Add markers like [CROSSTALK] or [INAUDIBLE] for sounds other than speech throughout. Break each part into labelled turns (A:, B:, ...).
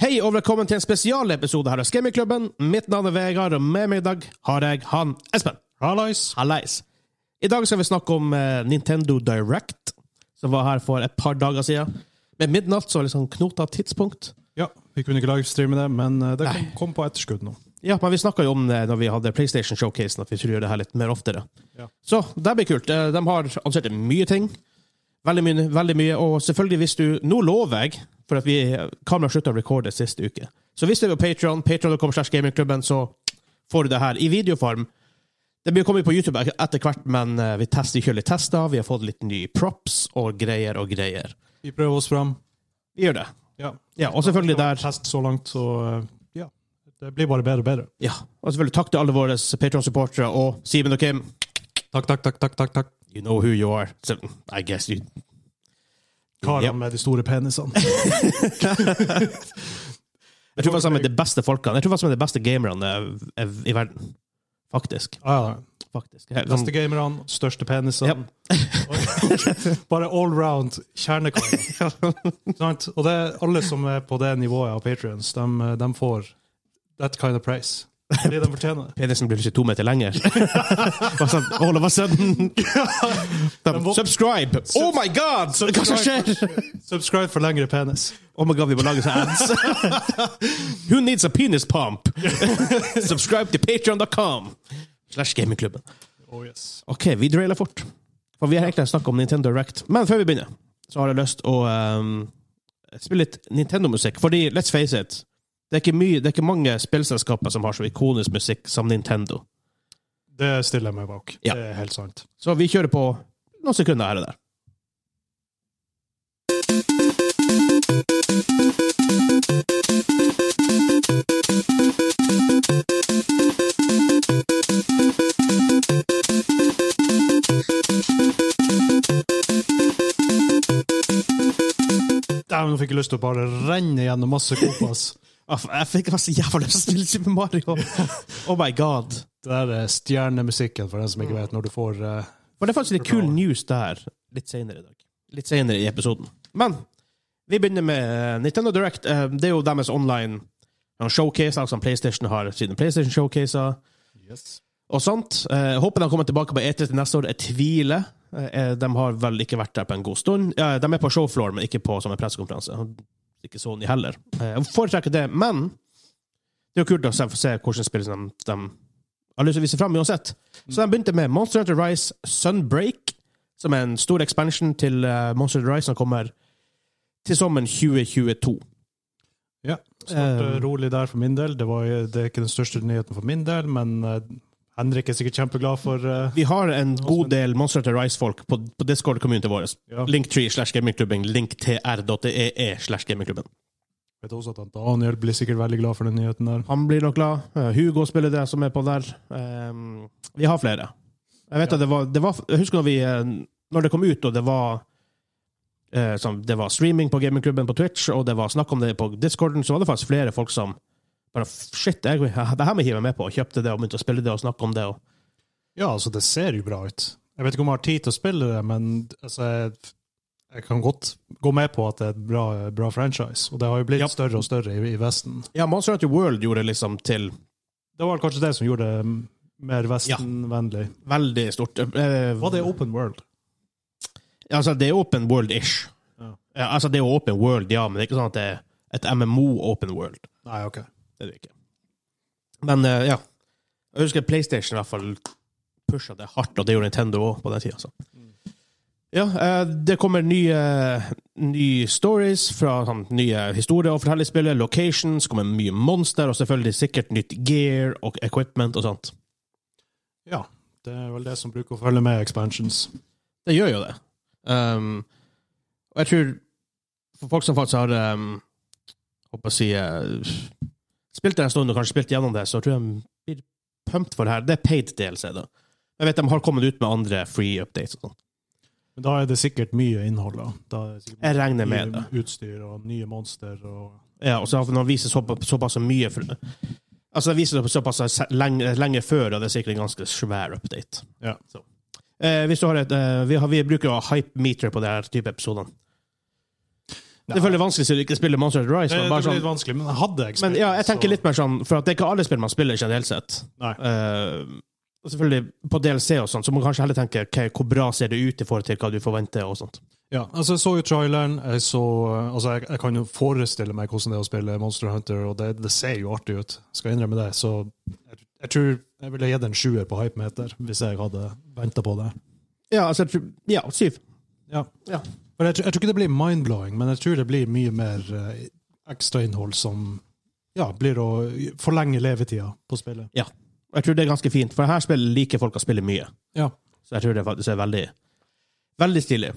A: Hei og velkommen til en spesialepisode her av Skremmeklubben. Mitt navn er Vegard, og med meg i dag har jeg han Espen.
B: Hallois.
A: Hallais. I dag skal vi snakke om eh, Nintendo Direct, som var her for et par dager siden. Med midnatt så var det sånn knota tidspunkt.
B: Ja, vi kunne ikke livestreame det, men eh, det kom,
A: Nei.
B: kom på etterskudd nå.
A: Ja, men vi snakka jo om det når vi hadde PlayStation Showcase, at vi skulle gjøre det her litt mer oftere.
B: Ja.
A: Så det blir kult. Eh, De har annonsert mye ting. Veldig mye, veldig mye. Og selvfølgelig, hvis du Nå lover jeg, for at vi kameraet slutta å recorde sist uke. Så hvis du er på Patron, patron.com slash gamingklubben, så får du det her i videoform. Det blir kommet på YouTube etter hvert, men eh, vi tester kjører litt tester. Vi har fått litt nye props og greier og greier.
B: Vi prøver oss fram.
A: Vi gjør det.
B: Ja.
A: Ja, og selvfølgelig
B: Det var
A: der
B: Test så langt, så eh, ja. Det blir bare bedre og bedre.
A: Ja, og selvfølgelig takk til alle våre Patron-supportere og Simen og Kim.
B: Takk, takk, takk. takk, takk, takk.
A: You know who you are. So, I guess you
B: Karene
A: Ja.
B: med de store penisene.
A: Jeg tror faktisk han er de beste folkene. Jeg tror faktisk han er de beste gamerne eh, i verden. Faktisk.
B: Ah, ja.
A: Faktisk. Jeg- sånn-
B: Beste gamerne, største penisene.
A: Ja.
B: [LAUGHS] bare all round kjernekarer. Sant? Og det, er alle som er på det nivået av patrions, de, eh, de får that kind of praise. Fordi de fortjener det.
A: Pedersen blir ikke to meter
B: [LAUGHS]
A: lenger. Og sånn, All of a sudden De- Subscribe! Oh my god! Så Hva som skjer?
B: [LAUGHS] Subscribe for lengre penis.
A: Oh my god, vi må lage sånne
B: [LAUGHS]
A: ads. Who needs a penis pump? [LAUGHS] Subscribe to patreon.com Slash gamingklubben.
B: Oh yes.
A: Ok, vi drailer fort. For vi har egentlig snakket om Nintendo Direct. Men før vi begynner, så har jeg lyst å ehm, spille litt Nintendo-musikk. Fordi, let's face it, det er, ikke mye, det er ikke mange spillselskaper som har så ikonisk musikk som Nintendo.
B: Det stiller jeg meg bak.
A: Ja.
B: Det er helt sant.
A: Så vi kjører på noen sekunder her og der.
B: Dæven, nå fikk jeg lyst til å bare renne gjennom masse kopas.
A: Ah, f- Jeg fikk altså jævla lyst til å spille Super Mario. [LAUGHS] Oh my god.
B: Det der er stjernemusikken, for den som ikke vet, når du får eh,
A: Men det er faktisk litt kul news der litt senere i dag. Litt senere i episoden. Men vi begynner med eh, Nintendo Direct. Eh, Det er jo deres online eh, showcase, altså PlayStation har sine PlayStation-showcaser og sånt. Eh, Jeg håper de kommer tilbake på E3 til neste år. Jeg tviler. Eh, De har vel ikke vært der på en god stund. Eh, De er på showfloor, men ikke på sånne pressekonferanse. Ikke Sony heller. Eh, Jeg foretrekker det, men det er jo kult å se, få se hvordan spill som de, de har lyst til å vise fram uansett. Så de begynte med Monster Hunter Rise Sunbreak, som er en stor expansion til eh, Monster Hunter Rise som kommer til sommeren 2022.
B: Ja. Snart eh,
A: Um.
B: rolig der for min del. Det, var, eh, det er ikke den største nyheten for min del, men eh, Henrik er sikkert kjempeglad for eh,
A: Vi har en god del Monster Hunter Rise-folk på, på Discord-communityen vår.
B: Ja.
A: Linktree slash gamingklubben, linktr.ee slash gamingklubben.
B: Vet også at han Daniel blir sikkert veldig glad for den nyheten der.
A: Han blir nok glad. Eh, Hugo spiller det som er på der. Ehm, vi har flere. Jeg vet
B: Ja.
A: at det var, det var Jeg husker når vi eh, Når det kom ut, og det var eh, sånn, Det var streaming på gamingklubben på Twitch, og det var snakk om det på Discorden, så var det faktisk flere folk som bare Shit, jeg, det her må jeg hive meg med på. Og kjøpte det og begynte å spille det og snakke om det. Og,
B: Ja, altså, det ser jo bra ut. Jeg vet ikke om jeg har tid til å spille det, men altså, jeg, jeg kan godt gå med på at det er et bra, bra franchise. Og det har jo blitt
A: Ja.
B: større og større i, i Vesten.
A: ja, Monster Hunter World gjorde liksom til
B: Det var kanskje det som gjorde det mm, mer Vesten-vennlig.
A: veldig stort. eh,
B: Var det open world?
A: Altså, det er open world-ish.
B: Ja.
A: Ja, altså, det er jo open world, ja, men det er ikke sånn at det er et MMO-open world.
B: Nei, ok.
A: Det er det ikke. Men eh, ja. Jeg husker PlayStation i hvert fall pusha det hardt, og det gjorde Nintendo òg på den tida. Så. Ja, eh, det kommer nye, nye stories fra sånn, nye historier og fortellerspillet. Locations, kommer mye monster, og selvfølgelig sikkert nytt gear og equipment og sånt.
B: Ja, det er vel det som bruker å følge med expansions.
A: Det gjør jo det. Um, og jeg tror for folk som faktisk har um, håper å si, eh, spilt det en stund og kanskje spilt gjennom det, så tror jeg de blir pumped for det her. Det er paid DLC, da. Jeg vet de har kommet ut med andre free updates og sånn.
B: Men da er det sikkert mye innhold. Da, da er det sikkert
A: Jeg regner
B: mye
A: med det.
B: Utstyr og nye monster og
A: Ja, og så har de vist så, såpass mye for, Altså, de viser det såpass lenge, lenge før, og det er sikkert en ganske svær update.
B: Ja.
A: Så. Eh, hvis du har et, eh, vi, har, vi bruker jo hype meter på denne type episoder. Det er selvfølgelig vanskelig siden du ikke spiller Monster Hunter Rise.
B: Det,
A: Men,
B: det
A: bare
B: blir
A: sånn,
B: litt vanskelig, men hadde jeg
A: men ja, jeg tenker litt mer sånn, for at det er ikke alle spill man spiller generelt sett.
B: Nei.
A: Eh, og selvfølgelig på DLC og sånn, så må man kanskje heller tenke ok, hvor bra ser det ut i forhold til hva du forventer. og sånt.
B: Ja, altså Jeg så jo traileren. Jeg så, altså jeg, jeg kan jo forestille meg hvordan det er å spille Monster Hunter, og det, det ser jo artig ut. Skal jeg innrømme det. Så jeg, jeg tror jeg ville gitt en sjuer på hypemeter hvis jeg hadde venta på det.
A: Ja, altså, jeg tror- ja, syv.
B: Ja.
A: Ja.
B: Men jeg, tror- jeg tror ikke det blir mind-blowing, men jeg tror det blir mye mer eh, ekstra innhold som ja, blir å forlenge levetida på spillet.
A: Ja. Og Jeg tror det er ganske fint, for her spillet liker folk å spille mye.
B: Ja.
A: Så jeg tror det faktisk er veldig, veldig stilig.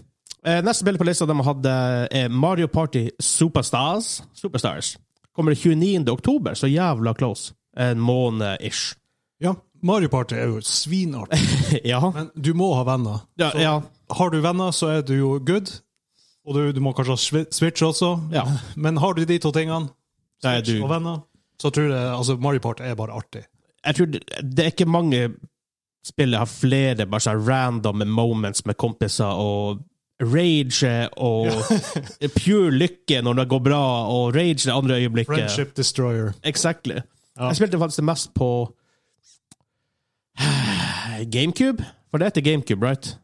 A: Eh, neste spill på lista de hadde, er Mario Party Superstars. Superstars. Kommer det 29. oktober, så jævla close. En måned-ish. [LAUGHS]
B: ja. Mario Party er jo svinartig,
A: ja.
B: men du må ha venner.
A: Ja,
B: Så-
A: ja.
B: Har du venner, så er du jo good. Og du, du må kanskje ha swi- Switch også.
A: Ja.
B: Men har du de to tingene,
A: Da er
B: Switch
A: du-
B: og venner, så tror jeg altså Mario Party er bare artig.
A: Jeg tror det, det er ikke mange spill jeg har flere bare sånn random moments med kompiser og rage og
B: [LAUGHS]
A: pure lykke når det går bra, og rage det andre øyeblikket.
B: Friendship Destroyer.
A: Exactly.
B: Ja.
A: Jeg spilte faktisk det mest på [SIGHS] GameCube. For det heter GameCube, right?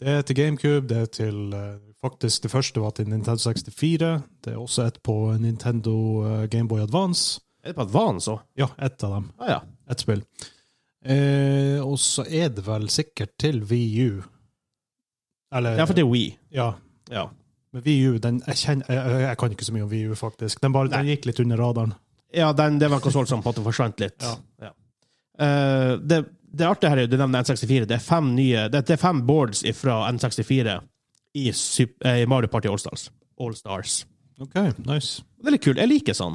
B: Det er til GameCube, det er til eh, Faktisk, det første var til Nintendo 64. Det er også et på Nintendo eh, Game Gameboy Advance.
A: Er det på Advance òg?
B: Ja, ett av dem.
A: Ah, ja.
B: Ett spill. Eh, og så er det vel sikkert til VU. Eller
A: ja, for det er Wii.
B: ja.
A: Ja.
B: Men VU, den, jeg, kjenner, jeg, jeg- jeg kan ikke så mye om VU, faktisk. Den, bare, den gikk litt under radaren.
A: Ja, den, det var en konsoll som på en måte forsvant litt.
B: Ja.
A: Eh, det, det artige her er jo, du nevner N64. Det er fem, nye, det, det er fem boards fra N64 i, Sup- eh, i Mario Party Allstars. All Stars.
B: Ok, nice.
A: Det er litt kult. Jeg liker sånn.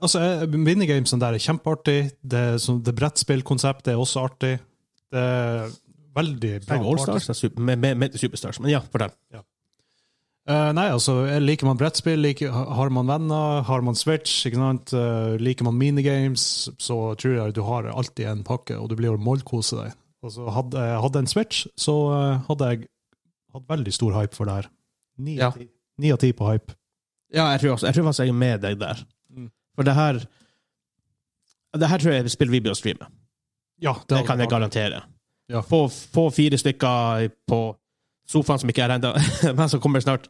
B: Altså, jeg- Minigamesen der er kjempeartig. Det, sånn- det brettspillkonseptet er også artig. Det er veldig bra.
A: Trenger Allstars?
B: party.
A: Det er super- Med, med, med Superstars. Men ja, fortell.
B: Eh, nei, altså, jeg- Liker man brettspill, liker, har man venner, har man Switch, ikke sant? Eh, liker man minigames, så tror jeg du har alltid en pakke, og du blir å mollkose deg. Altså, hadde jeg hadde en Switch, så eh, hadde jeg hatt veldig stor hype for det her. Ni
A: Ja.
B: av ti- ni av ti på hype.
A: Ja, jeg tror, også, jeg tror faktisk jeg er med deg der.
B: Mm.
A: For det her Det her tror jeg er spill vi bør streame.
B: Ja,
A: Det
B: hadde
A: kan jeg
B: vært-
A: garantere.
B: Ja.
A: Få, få fire stykker på sofaen som ikke er ennå, [LAUGHS] men som kommer snart.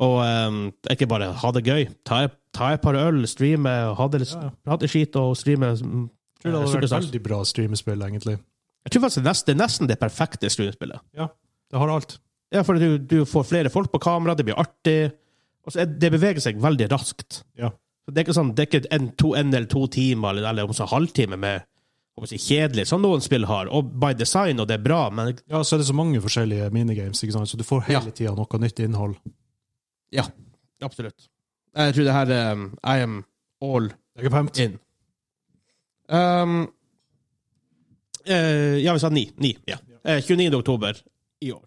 A: Og ehm, ikke bare ha det gøy. Ta, ta et par øl, streame, ha det litt,
B: Ja, ja.
A: prate skit og streame. mm,
B: Jeg tror det hadde vært
A: Superstars.
B: veldig bra streamespill, egentlig.
A: Jeg tror faktisk det er nesten, det er nesten det perfekte streamespillet.
B: Det har alt.
A: Ja, for du, du får flere folk på kamera, det blir artig. Og så er, det beveger seg veldig raskt.
B: Ja.
A: Så det er ikke sånn, det er ikke en, to, en eller to timer, eller, eller om så halvtime med om så kjedelig, som noen spill har. Og by design, og det er bra, men
B: Ja, så er det så mange forskjellige minigames, ikke sant? så du får hele tida noe nytt innhold.
A: absolutt. Jeg tror det her um, I am all
B: Jeg er pumped.
A: in. Um, eh, ja, vi sa ni. Ni, ja. Eh, 29. oktober i år.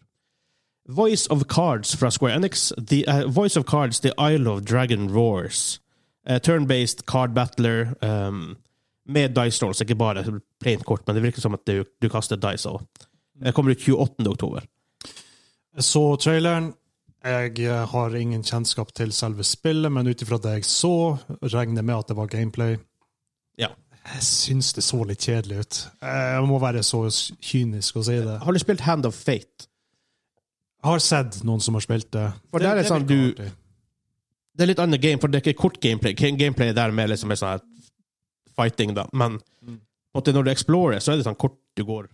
A: Voice of Cards fra Square Enix. The, eh, Voice of Cards, The Isle of Dragon Roars. Eh, Turn-based card battler ehm, med dice rolls, ikke bare plain kort, men det virker som at du, du kaster dice òg. Det kommer ut 28. oktober.
B: Jeg så traileren. Jeg eh, har ingen kjennskap til selve spillet, men ut ifra det jeg så, regner jeg med at det var gameplay.
A: Ja.
B: Jeg syns det så litt kjedelig ut. Eh, Jeg må være så kynisk og si det.
A: Har du spilt Hand of Fate?
B: Jeg har sett noen som har spilt det.
A: For der er
B: det
A: sånn
B: virker artig.
A: Det er litt annet game, for det er ikke kort gameplay. Gameplay er der med liksom er sånn her fighting, da. Men
B: Mm.
A: på en måte når du explorer, så er det sånn kort du går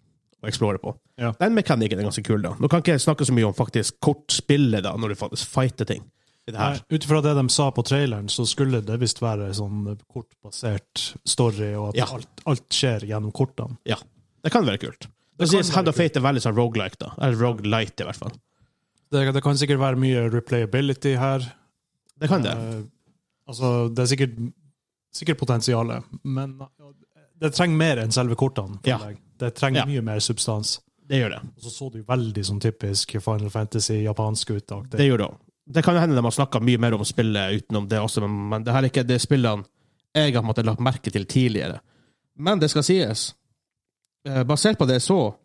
A: og explorer på.
B: Ja.
A: Den mekanikken er ganske kul, da. Nå kan ikke jeg snakke så mye om faktisk kortspillet, da, når du faktisk fighter ting. I det her.
B: Nei, Ut ifra det de sa på traileren, så skulle det visst være sånn kortbasert story, og at
A: Ja.
B: alt, alt skjer gjennom kortene.
A: Ja. Det kan være kult. Det
B: kan
A: sies
B: være
A: Hand of
B: kult.
A: Fate er veldig sånn roguelike, da. Eller roguelite, i hvert fall.
B: Det, det kan sikkert være mye replayability her.
A: Det kan det.
B: Eh, altså, det er sikkert, sikkert potensial, men det trenger mer enn selve kortene.
A: Ja.
B: føler jeg. Det trenger
A: Ja.
B: mye mer substans.
A: Det gjør det.
B: Og så så du veldig sånn typisk Final Fantasy, japansk ut.
A: Det gjør det òg. Det kan jo hende de har snakka mye mer om spillet utenom det også, men, men det her er ikke det spillene jeg har måttet lagt merke til tidligere. Men det skal sies, eh, basert på det jeg så,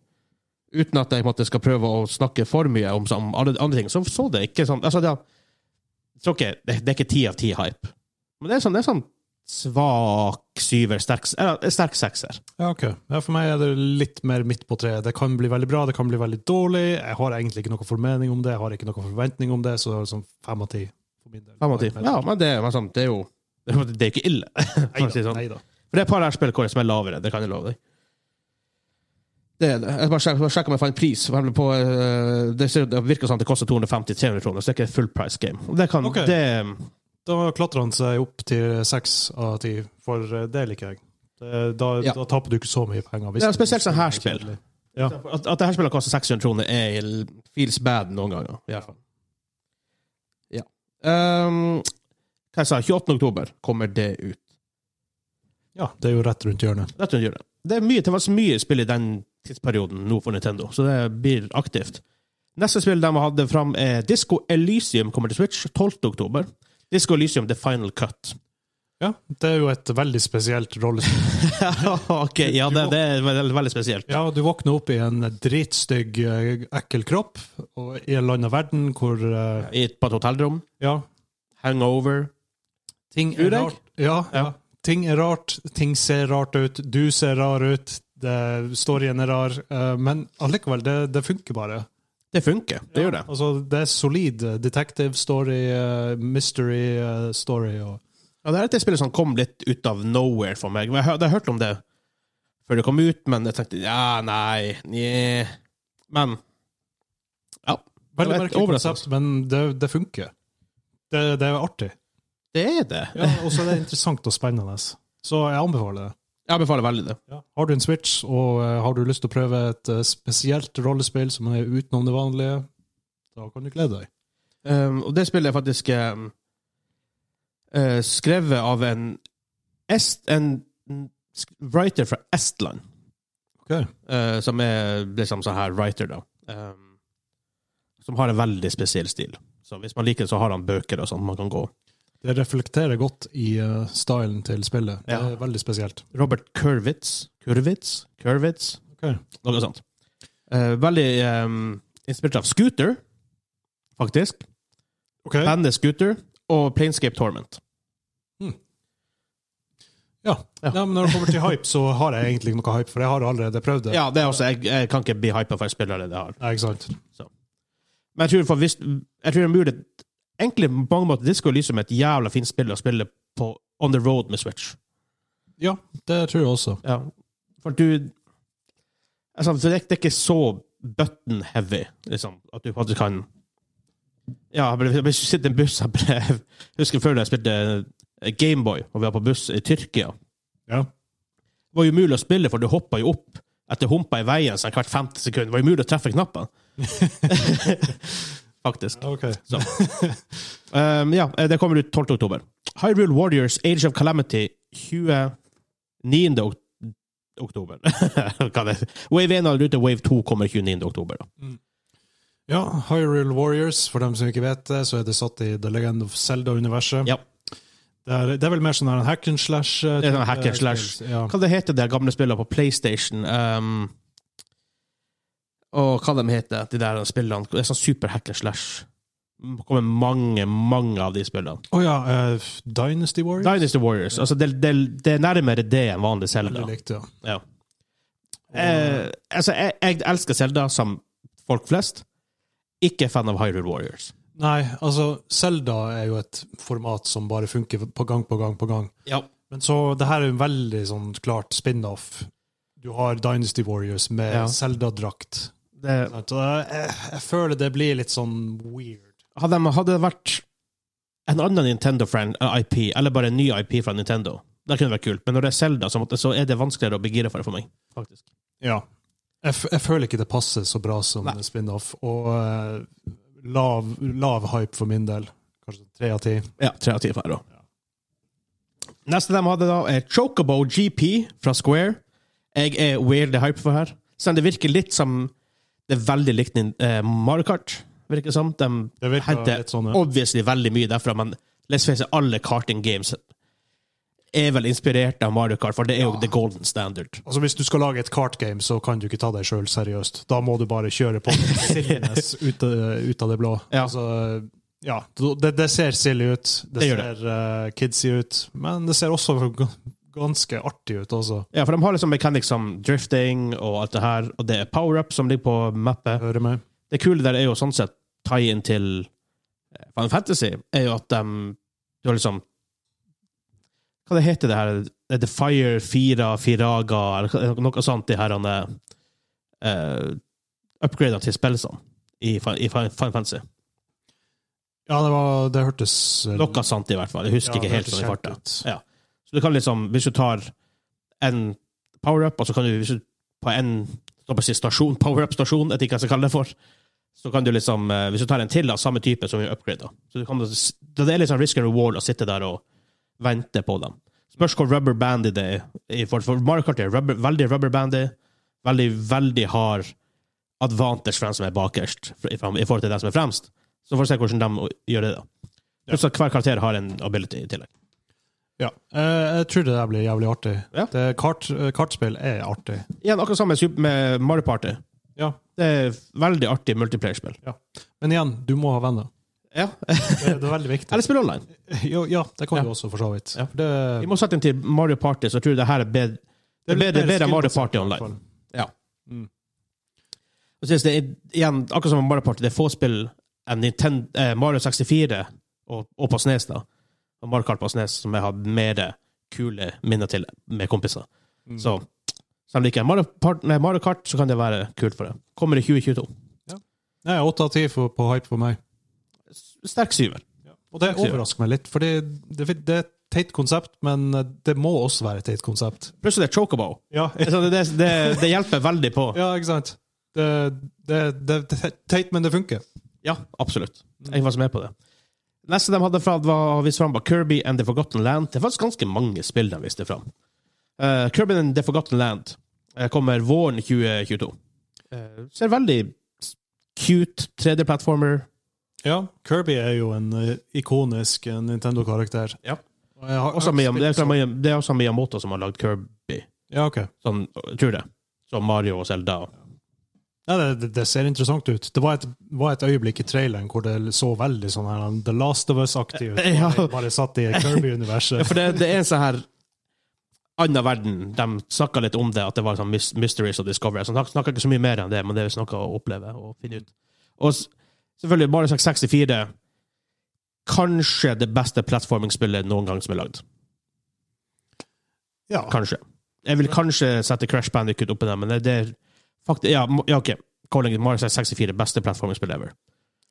A: uten at jeg på en måte, skal prøve å snakke for mye om, om alle andre ting, så så det ikke sånn altså, det, jeg tror ikke, det, det er ikke ti av ti hype. Men det er sånn, det er sånn svak syver, sterk, eller, sterk sekser.
B: Ja, ok. Ja, for meg er det litt mer midt på treet. Det kan bli veldig bra, det kan bli veldig dårlig. Jeg har egentlig ikke noe formening om det, jeg har ikke noe forventning om det, så det er sånn fem av ti. for min del.
A: Fem av ti. Ja, men det, er- men sånn, det er jo det er jo- det er ikke ille. for å si det
B: Neida,
A: sånn.
B: neida.
A: For det er et par her spillkår som er lavere, det kan jeg love deg. Det er det. Jeg bare sjek- bare sjekker om jeg fant pris. for eksempel På, eh, det, ser, det virker som det koster 250-300 kroner, så det er ikke et full price game. Og Det kan,
B: Ok.
A: det,
B: Da klatrer han seg opp til seks av ti, for eh, det liker jeg. Det- Da,
A: Ja.
B: da taper du ikke så mye penger. hvis
A: Ja,
B: du-
A: spesielt sånn her spill.
B: Kjedelig.
A: At, at det her spillet koster 600 kroner, er l- feels bad noen ganger. I hvert fall. Ja. Um, hva jeg sa 28. oktober kommer det ut.
B: Ja, det er jo rett rundt hjørnet.
A: Rett og slett gjør det. Det er mye, det var så mye spill i den tidsperioden nå for Nintendo, så det blir aktivt. Neste spill de hadde fram, er Disco Elysium kommer til Switch 12. oktober. Disco Elysium The Final Cut.
B: Ja, det er jo et veldig spesielt rollespill.
A: [LAUGHS] ok, ja, det, det er veldig, veldig spesielt.
B: Ja, du våkner opp i en dritstygg, eh, ekkel kropp, og i en land av verden hvor eh,
A: I et, på et hotellrom.
B: Ja,
A: Hangover.
B: ting
A: Tror
B: er
A: jeg.
B: rart. Ja, ja.
A: Ja.
B: Ting er rart, ting ser rart ut, du ser rar ut, det, storyen er rar, eh, men allikevel, det, det funker bare.
A: Det funker. Det gjør det.
B: Altså, det er solid eh, detective story, eh, mystery eh, story og
A: Ja, det er et spill som kom litt ut av nowhere for meg. Men Jeg har, jeg har hørt om det før det kom ut, men jeg tenkte ja, nei, nje. Men ja,
B: Veldig
A: Det var et
B: merkelig konsept,
A: overraskelse.
B: men det, det funker. Det, det er artig.
A: det er det.
B: Ja, [LAUGHS] og så er det interessant og spennende. Så jeg anbefaler det.
A: Jeg anbefaler veldig det.
B: Har du en Switch, og eh, har du lyst til å prøve et eh, spesielt rollespill som er utenom det vanlige, da kan du glede deg.
A: Um, og det spillet er faktisk um, eh, skrevet av en, est, en sk- writer fra Estland.
B: Ok.
A: Eh, som er liksom sånn her writer, da. Um, som har en veldig spesiell stil. Så hvis man liker det, så har han bøker og sånt man kan gå.
B: Det reflekterer godt i eh, stylen til spillet. Det
A: Ja.
B: er veldig spesielt.
A: Robert Kurwitz. Kurwitz? Kurwitz?
B: Ok.
A: Noe sånt. Eh, veldig ehm, inspirert av Scooter, faktisk. Bandet Scooter og Planescape Torment.
B: Ja.
A: Ja.
B: Nei, men når det kommer til hype, så har jeg egentlig ikke noe hype, for jeg har allerede prøvd det.
A: Ja, det er også, jeg, jeg kan ikke bli hypa for jeg spiller det jeg har.
B: Nei, ikke sant?
A: Men jeg tror, for hvis, jeg tror det er mulig Egentlig på mange måter Disco Elysium er et jævla fint spill å spille på on the road med Switch.
B: Ja, det tror jeg også.
A: Ja. For du altså, for det, det er ikke så button heavy, liksom, at du faktisk kan Ja, men hvis du sitter i en buss Jeg ble- jeg husker før da jeg spilte eh, Gameboy, og vi var på buss i Tyrkia.
B: Ja.
A: Det var jo umulig å spille, for du hoppa jo opp etter humpa i veien sånn hvert femte sekund. Det var jo umulig å treffe knappene. faktisk.
B: Ok.
A: Um, ja, det kommer ut 12. oktober. Hyrule Warriors Age of Calamity 29. ok- oktober. [LAUGHS] Hva det? Wave 1 har rute, Wave 2 kommer 29. oktober. Da.
B: Ja, Hyrule Warriors, for dem som ikke vet det, så er det satt i The Legend of Zelda-universet.
A: Ja.
B: Det, er, det er vel mer sånn her en hack and slash? eh,
A: Det er sånn
B: type
A: hack and slash.
B: spill. Ja.
A: Hva det heter de gamle spillene på PlayStation? Um, og hva de heter de der spillene? Det er sånn super hack and slash. Det kommer mange, mange av de spillene.
B: Å ja, eh, Dynasty Warriors?
A: Dynasty Warriors. Altså, det, det, det er nærmere det enn vanlig Zelda.
B: Veldig likt,
A: Ja.
B: ja.
A: Eh, altså, jeg, jeg elsker Zelda som folk flest. Ikke fan av Hyrule Warriors.
B: Nei, altså, Zelda er jo et format som bare funker på gang på gang på gang.
A: Ja.
B: Men så, det her er jo en veldig sånn klart spin-off. Du har Dynasty Warriors med
A: Ja.
B: Zelda-drakt.
A: Det,
B: sant? Og Jeg, jeg føler det blir litt sånn weird.
A: hadde, de- hadde det vært en annen Nintendo-IP, eller bare en ny IP fra Nintendo, det kunne vært kult. Men når det er Zelda, så, måtte, så er det vanskeligere å bli gira for det for meg. Faktisk.
B: Ja. Jeg, f jeg føler ikke det passer så bra som
A: Nei.
B: spin-off. Og eh, lav, lav hype for min del. Kanskje tre av ti.
A: Ja, tre av ti for her også. Neste de hadde, da, er Chocobo GP fra Square. Jeg er weird hype for her. Selv om det virker litt som Det er veldig likt eh, Mario Kart, virker det som. De
B: Det virker
A: henter
B: litt sånn, ja.
A: obviously veldig mye derfra, men let's face it, alle karting games er vel inspirert av Mario Kart, for det er jo the golden standard.
B: Altså, hvis du skal lage et kartgame, så kan du ikke ta deg
A: [LAUGHS]
B: sjøl seriøst. Da må du bare kjøre på silliness eh, ut, av- ut av det blå.
A: Ja.
B: Altså, ja, det, det ser silly ut. Det,
A: Det gjør
B: ser eh, kidsy ut. Men det ser også g- ganske artig ut, altså.
A: Ja, for de har liksom mechanics som drifting og alt det her, og det er power-up som ligger på mappet.
B: Hører meg.
A: Det kule der er jo sånn sett tie-in til eh, Final Fantasy, er jo at de Du har liksom Hva det heter det her? Er det Fire, Fira, Firaga, eller noe sånt, de her uh, upgradene til spillene i, Fi- i Fi- Final Fantasy?
B: Ja, det, var, det hørtes eh,
A: Noe sånt, i hvert fall. Jeg husker
B: Ja, det
A: ikke helt
B: hørtes
A: sånn i
B: kjekt
A: farta.
B: ut.
A: Ja. Så du kan liksom, hvis du tar en power-up, og så kan du, hvis du på en hva skal jeg si, stasjon, [LAUGHS] power-up-stasjon, jeg vet ikke hva jeg skal kalle det for, så kan du liksom, eh, hvis du tar en til av samme type som vi upgrader, så du kan, det er liksom risk and reward å sitte der og vente på dem. Spørs hvor rubber bandy det er, i for, for Mario Kart er rubber, veldig rubber bandy, veldig, veldig hard advantage for dem som er bakerst, for- i i forhold til dem som er fremst. Så får vi se hvordan de gjør det da. Pluss at hver karakter har en ability i tillegg.
B: Ja. Eh, jeg tror det der blir jævlig artig.
A: Ja.
B: Det, kart, eh, kartspill er artig.
A: Igjen, akkurat samme med, med Mario Party.
B: Ja.
A: Det er veldig artig multiplayer-spill.
B: Men igjen, du må ha [LAUGHS] venner.
A: Ja.
B: Det, det er veldig viktig.
A: Eller spill online.
B: Jo, ja, det kan
A: Ja.
B: du også, for så vidt.
A: Ja.
B: For det,
A: I motsetning til Mario Party, så tror jeg det her er bedre, det er bedre,
B: mer
A: bedre enn Mario
B: skillbasert,
A: Party
B: i hvert
A: online.
B: fall.
A: Og så synes jeg det er- igjen, akkurat som med Mario Party, det er få spill enn Nintendo, eh, Mario 64 og, og på Snes, da. Og Mario Kart på Snes, som jeg har mer kule minner til med kompiser.
B: Mm.
A: Så selv om det ikke er Mario, Part, nei, Mario Kart, så kan det være kult for det. Kommer i 2022.
B: Nei, åtte av ti for- på hype for meg.
A: Sterk syver.
B: Og det
A: Takk, Siv.
B: overrasker meg litt, for det, det, det er et teit konsept, men det må også være et teit konsept.
A: Plutselig er det Chocobo.
B: Ja, [LAUGHS]
A: Så det, det, det, det hjelper veldig på.
B: ikke sant? Det, det, det, det er teit, men det funker.
A: Ja, absolutt. Jeg var så med på det. Neste de hadde fra, var vist fram var Kirby and The Forgotten Land. Det er faktisk ganske mange spill de viste fram. Eh, Kirby and The Forgotten Land eh, kommer våren 2022. Eh, ser veldig cute 3D-platformer.
B: Ja, Kirby er jo en eh, ikonisk eh, Nintendo-karakter.
A: Ja.
B: Og jeg har-
A: Også
B: jeg har
A: Miyam- Det er
B: spilt
A: fra
B: så-
A: Miyam- det er også Miyamoto som har lagd Kirby,
B: Ja, ok.
A: sånn, jeg tror det. Som Mario og Zelda.
B: Ja, det, det- det ser interessant ut. Det var et, var et øyeblikk i traileren hvor det så veldig sånn her um, The Last of Us-aktig ut.
A: [LAUGHS] Ja.
B: Bare- Bare satt i
A: [LAUGHS] Ja,
B: Kirby-universet.
A: for det, det er en sånn her annen verden. De snakka litt om det, at det var sånn mys- mysteries og discovery. Så de snakka ikke så mye mer enn det, men det er noe å oppleve og finne ut. Og s- selvfølgelig, Mario Kart 64 Kanskje det beste plattformingsspillet noen gang som er lagd.
B: Ja.
A: Kanskje. Jeg vil kanskje sette Crash Bandicoot oppi der, men det det er faktisk Ja, m- ja OK. Calling it Mario Kart 64 beste plattformingsspill ever.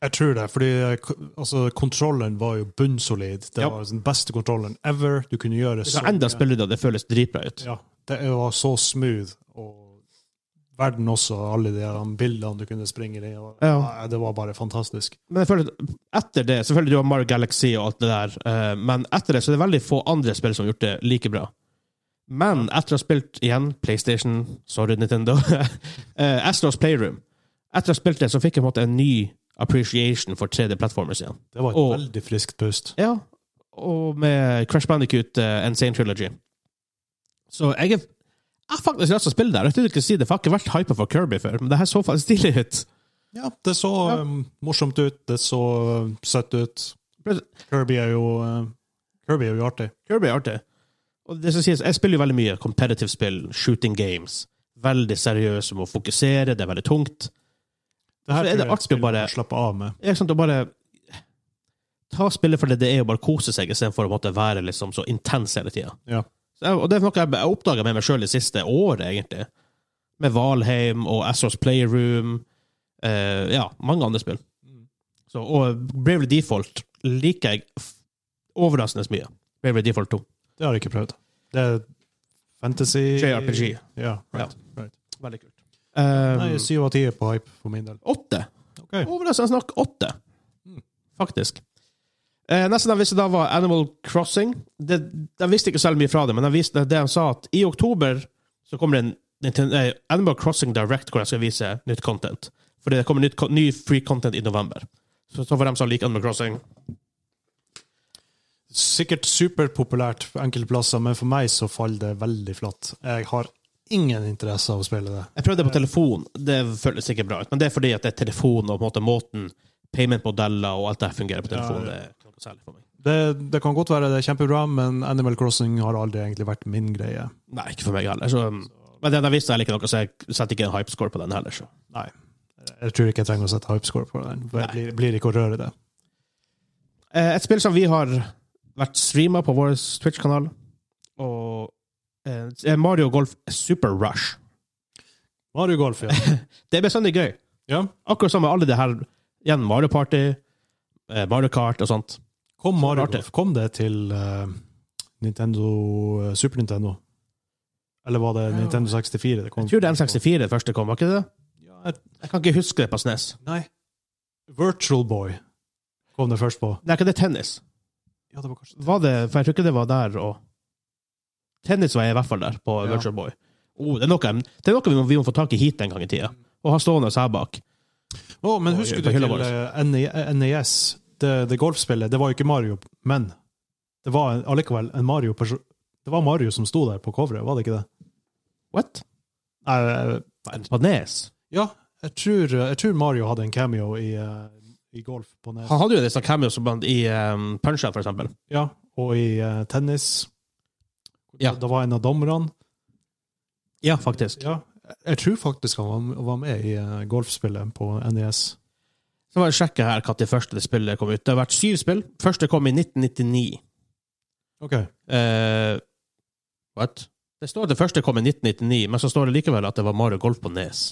B: Jeg tror det, fordi eh, k- altså, kontrollen var jo bunnsolid. Det
A: Ja.
B: var den beste kontrollen ever. Du kunne gjøre
A: Så enda
B: mye.
A: spiller du det, det føles dritbra ut.
B: Ja, det var så smooth, og verden også, alle de her bildene du kunne springe i. Og,
A: Ja.
B: Nei, det var bare fantastisk.
A: Men jeg føler at etter det Selvfølgelig du har Mario Galaxy og alt det der, eh, men etter det så er det veldig få andre spill som har gjort det like bra. Men etter å ha spilt igjen PlayStation, sorry Nintendo, [LAUGHS] eh, Astros Playroom Etter å ha spilt det, så fikk jeg på en måte en ny appreciation for 3D-plattformers igjen.
B: Det var et
A: Og-
B: veldig friskt pust.
A: Ja, og med Crash Bandicoot uh, Insane Trilogy. Så jeg er jeg har faktisk lyst til å spille det. her. Jeg trodde ikke å si det, for jeg har ikke vært hypa for Kirby før, men det her så faktisk stilig ut.
B: Ja, det så
A: Ja.
B: um, morsomt ut, det så um, søtt ut. Kirby er jo uh, Kirby er jo artig.
A: Kirby er artig. Og det som sies, jeg spiller jo veldig mye competitive spill, shooting games. Veldig seriøs, du må fokusere, det er veldig tungt.
B: Det
A: Så er
B: tror
A: det
B: jeg er et
A: artig å
B: spill man
A: bare-
B: kan slappe av med.
A: Det er sant å bare ta spillet for det det er, og bare kose seg, istedenfor å måtte være liksom så intens hele tida.
B: Ja.
A: Og det er noe jeg, jeg oppdaga med meg sjøl det siste året, egentlig. Med Valheim og Assos Playroom. eh, ja, mange andre spill.
B: Mm.
A: Så, og Bravely Default liker jeg f- overraskende mye. Bravely Default 2.
B: Det har jeg ikke prøvd. Det er fantasy
A: JRPG.
B: Ja. Right.
A: Veldig kult. Mm.
B: Nei, syv av ti er på hype for min del.
A: Eh, åtte.
B: Ok.
A: Overraskende nok sånn åtte,
B: Mm.
A: faktisk. Eh, Nesten de visste da var Animal Crossing. De, de visste ikke så veldig mye fra det, men de visste det de sa, at i oktober så kommer det en Ninten- eh, Animal Crossing Direct hvor jeg skal vise nytt content. For det kommer nytt, ko- ny free content i november. Så, så for dem som liker Animal Crossing
B: Sikkert superpopulært på enkelte plasser, men for meg så faller det veldig flatt. Jeg har ingen interesse av å spille det.
A: Eh. Jeg prøvde på telefon, det føltes ikke bra ut, men det er fordi at det er telefon og på en måte måten payment-modeller og alt det her fungerer på telefonen.
B: Ja, ja.
A: Det er ikke noe særlig for meg.
B: Det, det kan godt være det er kjempebra, men Animal Crossing har aldri egentlig vært min greie.
A: Nei, ikke for meg heller. Så, um, men den har vist seg jeg liker noe, så jeg setter ikke en hypescore på den heller. Så.
B: Nei. Jeg tror ikke jeg trenger å sette hypescore på den. for Jeg
A: Nei.
B: blir, blir ikke å røre det.
A: Eh, Et spill som vi har vært streama på vår Twitch-kanal, og eh, er Mario Golf Super Rush.
B: Mario Golf,
A: [LAUGHS]
B: ja.
A: Det er bestandig gøy.
B: ja.
A: Akkurat som med alle det her igjen Mario Party, eh, Mario Kart og sånt.
B: Kom Mario
A: Rart det.
B: Golf. Kom det til eh, Nintendo, eh, Super Nintendo? Eller var det
A: Ja.
B: Nintendo 64? Det kom
A: Jeg tror det er N64 det første kom, var ikke det det?
B: Ja, jeg,
A: Jeg kan ikke huske det på E SNES.
B: nei. Virtual Boy kom det først på.
A: Nei, ikke det tennis.
B: Ja, det var kanskje
A: Var det, for jeg tror ikke det var der og Tennis var jeg i hvert fall der, på
B: Ja.
A: Virtual Boy. Oh, det er noe, det er noe vi, må, vi må få tak i hit en gang i tida.
B: Mm.
A: Og ha stående her bak.
B: Å, men
A: På-
B: husker
A: på
B: du
A: hylla
B: til eh, NE NES, det, det golfspillet? Det var jo ikke Mario, men det var en- allikevel en Mario perso- Det var Mario som sto der på coveret, var det ikke det?
A: What?
B: Nei, eh,
A: På E Nes?
B: ja, jeg tror, jeg tror Mario hadde en cameo i, eh, i golf på NES.
A: Han hadde jo en sånn cameo som blant i um, Punch-Out, for eksempel.
B: Ja, og i eh, tennis.
A: Ja.
B: Det var en av dommerne.
A: Ja, faktisk.
B: Ja. Jeg tror faktisk han var, var med i eh, golfspillet på E NES.
A: Så bare sjekke her når det første spillet kom ut. Det har vært syv spill. Første kom i 1999.
B: Ok.
A: Eh, what? Det står at det første kom i 1999, men så står det likevel at det var Mario Golf på Nes.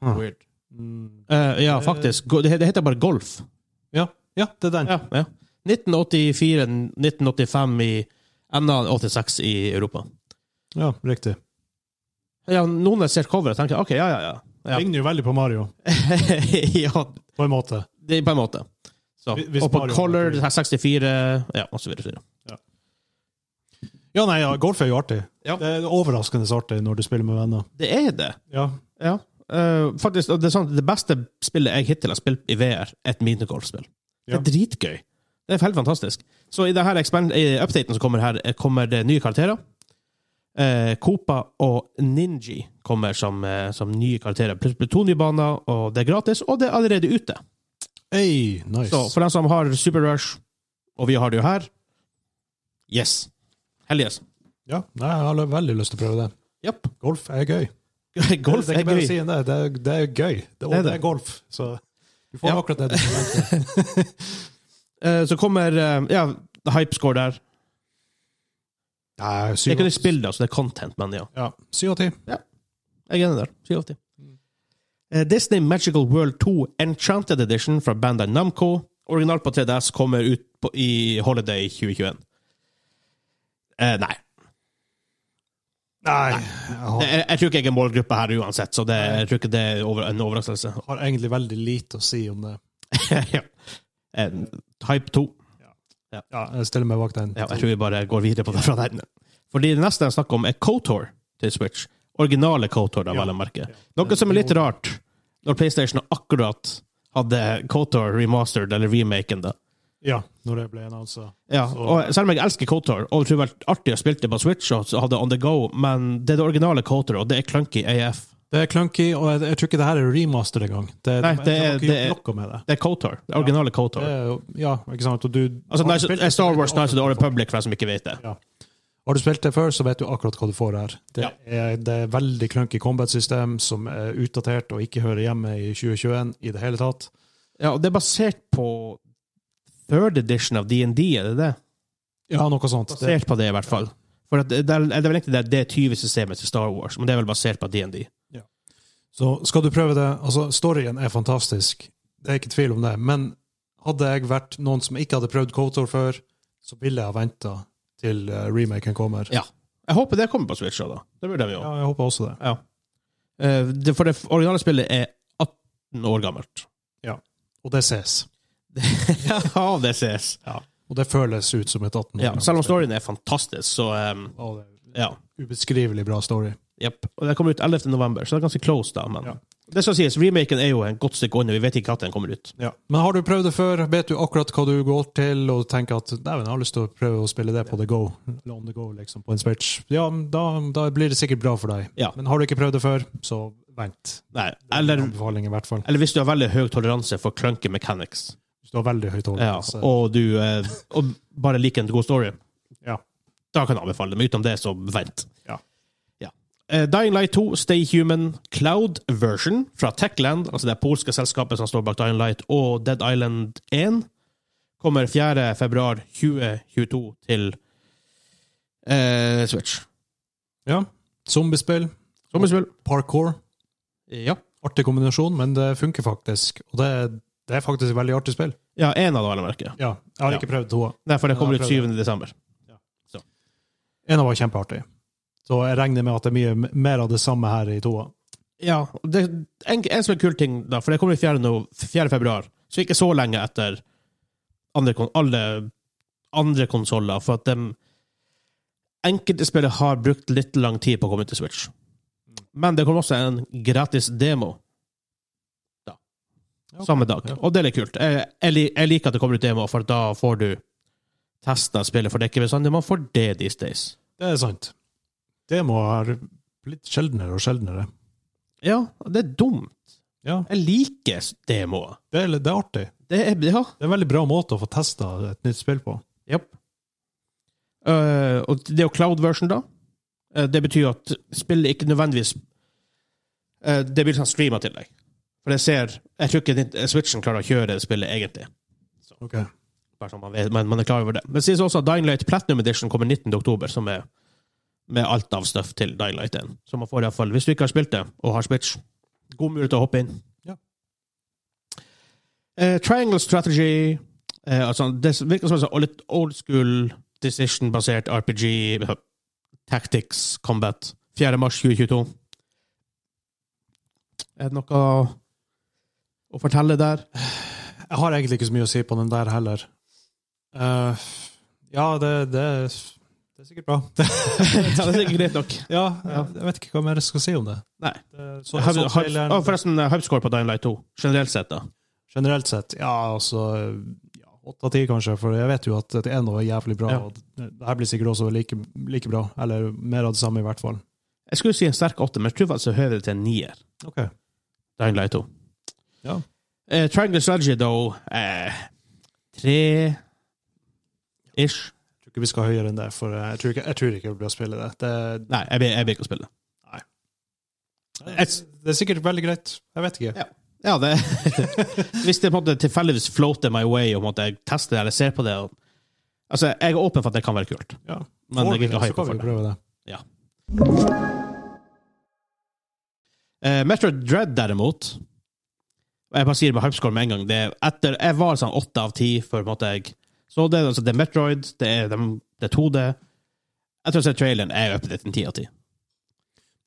B: Hmm.
A: Weird.
B: Mm.
A: Eh, ja, faktisk. Go- Det det heter bare Golf.
B: Ja. ja, det er den.
A: Ja, ja. 1984, 1985 i enda 86 i Europa.
B: Ja, riktig.
A: Ja, noen ser coveret og tenker OK, ja, ja, [LAUGHS] ja.
B: Ligner jo veldig på Mario,
A: ja. ja
B: på en måte.
A: det, på en måte. Så.
B: Hvis- hvis
A: Og på
B: Mario-
A: Color, det her 64 Ja, og så videre. og så videre.
B: Ja, nei, ja, golf er jo artig.
A: Ja.
B: Det er overraskende så artig når du spiller med venner.
A: Det er det.
B: Ja.
A: Ja. Eh, faktisk, og det, er sånn, det beste spillet jeg hittil har spilt i VR, er et minigolfspill. Det
B: Ja.
A: er dritgøy. Det er helt fantastisk. Så i denne updaten som kommer her, eh, kommer det nye karakterer. Eh, Koopa og Ninji kommer som, eh, som nye karakterer. Pluss blir to nye baner, og det er gratis, og det er allerede ute.
B: Hey, nice.
A: Så for dem som har Super Rush, og vi har det jo her Yes. Hell yes.
B: Ja, nei, jeg har veldig lyst til å prøve det.
A: Japp.
B: Golf er gøy.
A: Golf
B: det, det er
A: er
B: ikke bare å si
A: gøy.
B: enn det. Det er, det er gøy. Det, og
A: Det er
B: det,
A: det.
B: er golf, så du får
A: Ja. [LAUGHS]
B: akkurat det du forventer.
A: Eh, så kommer eh, ja, hypescore der.
B: Nei,
A: Det er
B: syv
A: ikke
B: av-
A: det spillet, altså. Det er content, men ja.
B: Ja, syv av ti.
A: Jeg er enig der. 87. Eh, Disney Magical World 2 Enchanted Edition fra Bandai Namco. Originalt på 3DS kommer ut på, i Holiday 2021. Eh, nei.
B: Nei, jeg har,
A: Jeg, jeg tror ikke jeg er målgruppe her uansett, så det, jeg tror ikke det er over, en overraskelse. [LAUGHS]
B: har egentlig veldig lite å si om det.
A: ja. Eh, Type 2.
B: Ja, jeg stiller meg bak den.
A: Ja, jeg tror vi bare går videre på det fra den. Fordi det neste jeg snakker om, er Kotor til Switch. Originale Kotor, da,
B: Ja.
A: vel å merke.
B: Ja.
A: Noe som er litt rart, når PlayStation akkurat hadde Kotor remastered, eller remaken, da.
B: Ja, når det ble annonsa.
A: Ja,
B: Så-
A: og selv om jeg elsker Kotor, og tror det var artig å spille det på Switch, og så hadde on the go, men det er det originale Kotor, og det er clunky AF.
B: Det er clunky, og jeg, jeg tror ikke det her er remaster engang. Det,
A: Nei, det
B: de- de har
A: er-
B: ikke
A: det
B: gjort
A: er-
B: noe med det.
A: Det er Kotor. Det originale Kotor.
B: det er, jo- ja, ikke sant? Og du,
A: Altså,
B: har,
A: Knights-
B: du spilt det,
A: Star
B: så vet
A: Wars
B: du
A: Nights of the Old
B: akkurat hva du får.
A: Republic, for dem som ikke vet det.
B: Har du spilt det før, så vet du akkurat hva du får her. Det,
A: Ja.
B: er, det er veldig clunky combat-system som er utdatert og ikke hører hjemme i 2021 i det hele tatt.
A: Ja, og det er basert på third edition av DND, er det det?
B: Ja, noe sånt. Det,
A: Basert på det, i hvert fall. For at det, det, er, det er vel egentlig det D20-systemet til Star Wars, men det er vel basert på DND.
B: så skal du prøve det Altså, storyen er fantastisk. Det er ikke tvil om det. Men hadde jeg vært noen som ikke hadde prøvd Kotor før, så ville jeg ha venta til eh, remaken kommer.
A: Ja. Jeg håper det kommer på Switch, da. Det burde vi jo.
B: Ja, jeg håper også det.
A: Ja. Eh, det, for det originale spillet er 18 år
B: [LAUGHS]
A: gammelt.
B: Og det ses.
A: ja, det ses.
B: Og det føles ut som et 18 år
A: Ja, selv om storyen er fantastisk, så um,
B: Ja, det er
A: ja.
B: en Ubeskrivelig bra story.
A: Jepp. Og den kommer ut 11. november, så det er ganske close, da. Men
B: Ja.
A: det skal sies, remaken er jo en godt stykke unna. Vi vet ikke når den kommer ut.
B: Ja. Men har du prøvd det før, vet du akkurat hva du går til, og tenker at dæven, jeg har lyst til å prøve å spille det på the go, eller on the go, liksom, på en Switch, ja, da, da blir det sikkert bra for deg.
A: Ja.
B: Men har du ikke prøvd det før, så Vent.
A: Nei, eller,
B: Anbefaling i hvert fall.
A: eller hvis du har veldig høy toleranse for clunky mechanics,
B: Hvis du har veldig høy
A: ja,
B: toleranse.
A: og du eh, og bare liker en god story,
B: Ja.
A: da kan jeg anbefale det. Men utenom det, så vent.
B: Ja.
A: Ja. Eh, Dying Light 2 Stay Human Cloud Version fra Techland, altså det polske selskapet som står bak Dying Light, og Dead Island 1, kommer 4. februar 2022 til eh, Switch.
B: ja. Zombiespill.
A: Sommerspill.
B: Parkour.
A: Ja.
B: Artig kombinasjon, men det funker faktisk. Og det, er- det er faktisk et veldig artig spill.
A: Ja, én av dem, vel å merke.
B: Ja, jeg har
A: Ja.
B: ikke prøvd toa.
A: Derfor det kommer
B: Ja,
A: ut
B: prøv det.
A: 7. desember.
B: En av var kjempeartig. Så jeg regner med at det er mye m- mer av det samme her i toa.
A: Ja, det, en, en som er kul ting, da, for det kommer 4. No, 4. februar, så ikke så lenge etter andre, kon- alle andre konsoller, for at de enkelte spillere har brukt litt lang tid på å komme til Switch. Men det kommer også en gratis demo da,
B: Ja, ok.
A: samme dag,
B: Ja.
A: og det er litt kult. Jeg, jeg, lik- jeg liker at det kommer ut demo, for da får du testa spillet, for det er ikke bestandig man får det these days.
B: Det er sant. Det må ha blitt sjeldnere og sjeldnere.
A: Ja, det er dumt.
B: Ja,
A: Jeg liker demoer.
B: det er, litt- det er artig.
A: Det er, ja,
B: Det er en veldig bra måte å få testa et nytt spill på.
A: Yep. Eh, og det er jo cloud version, da. Eh, det betyr at spillet ikke nødvendigvis eh, Det blir sånn streama til deg. For jeg ser Jeg tror ikke Nint- eh, Switchen klarer å kjøre spillet, egentlig.
B: Ok.
A: Bare sånn man, vet, men man er klar over det. Men det sies også at Dying Light Platinum Edition kommer 19. oktober, som er med alt av stuff til Dying Light 1. Så man får i hvert fall, hvis du ikke har spilt det, og har Switch, god mulighet til å hoppe inn.
B: Ja.
A: Eh, triangle Strategy eh, altså, Det virker som en sånn litt old school decision-basert RPG eh, Tactics Combat. 4. mars 2022. Er det noe å fortelle der?
B: Jeg har egentlig ikke så mye å si på den der heller. Eh, ja, det, det, det er sikkert bra.
A: ja, det er sikkert greit nok.
B: ja,
A: Ja.
B: jeg vet ikke hva mer jeg skal si om det.
A: Nei.
B: det så,
A: Hype-
B: så
A: hype-
B: traileren-
A: Å, Forresten, eh, hypescore på Dying Light 2, generelt sett, da.
B: Generelt sett, ja, altså ja, Åtte av ti, kanskje, for jeg vet jo at det er noe jævlig bra.
A: Ja.
B: og Det her blir sikkert også like, like bra, eller mer av det samme, i hvert fall.
A: Jeg skulle si en sterk åtter, men jeg tror faktisk jeg hører det til en nier.
B: Ok.
A: Dying Light 2.
B: Ja.
A: Eh, Triangle Strategy, though eh, Tre Ish.
B: Jeg tror ikke vi skal høyere enn det, for jeg tror ikke, jeg tror ikke det blir å spille det. Det,
A: Nei, jeg vil, jeg vil ikke spille det.
B: det, det er sikkert veldig greit. Jeg vet ikke.
A: Ja. Ja, det [LAUGHS] Hvis det på en måte tilfeldigvis floater my way, og på en måte jeg tester det eller ser på det og, Altså, jeg er åpen for at det kan være kult,
B: Ja.
A: men jeg
B: Får
A: er
B: vi
A: ikke
B: det, så
A: hypa
B: kan
A: for
B: vi jo
A: det.
B: prøve det.
A: Eh, Metroid Dread, derimot og Jeg bare sier det med hypescore med en gang. Det er etter, jeg var sånn åtte av ti før på en måte jeg Så det, altså, det er Metroid, det er, dem- det er 2D Jeg tror jeg ser traileren er oppe til en ti av ti.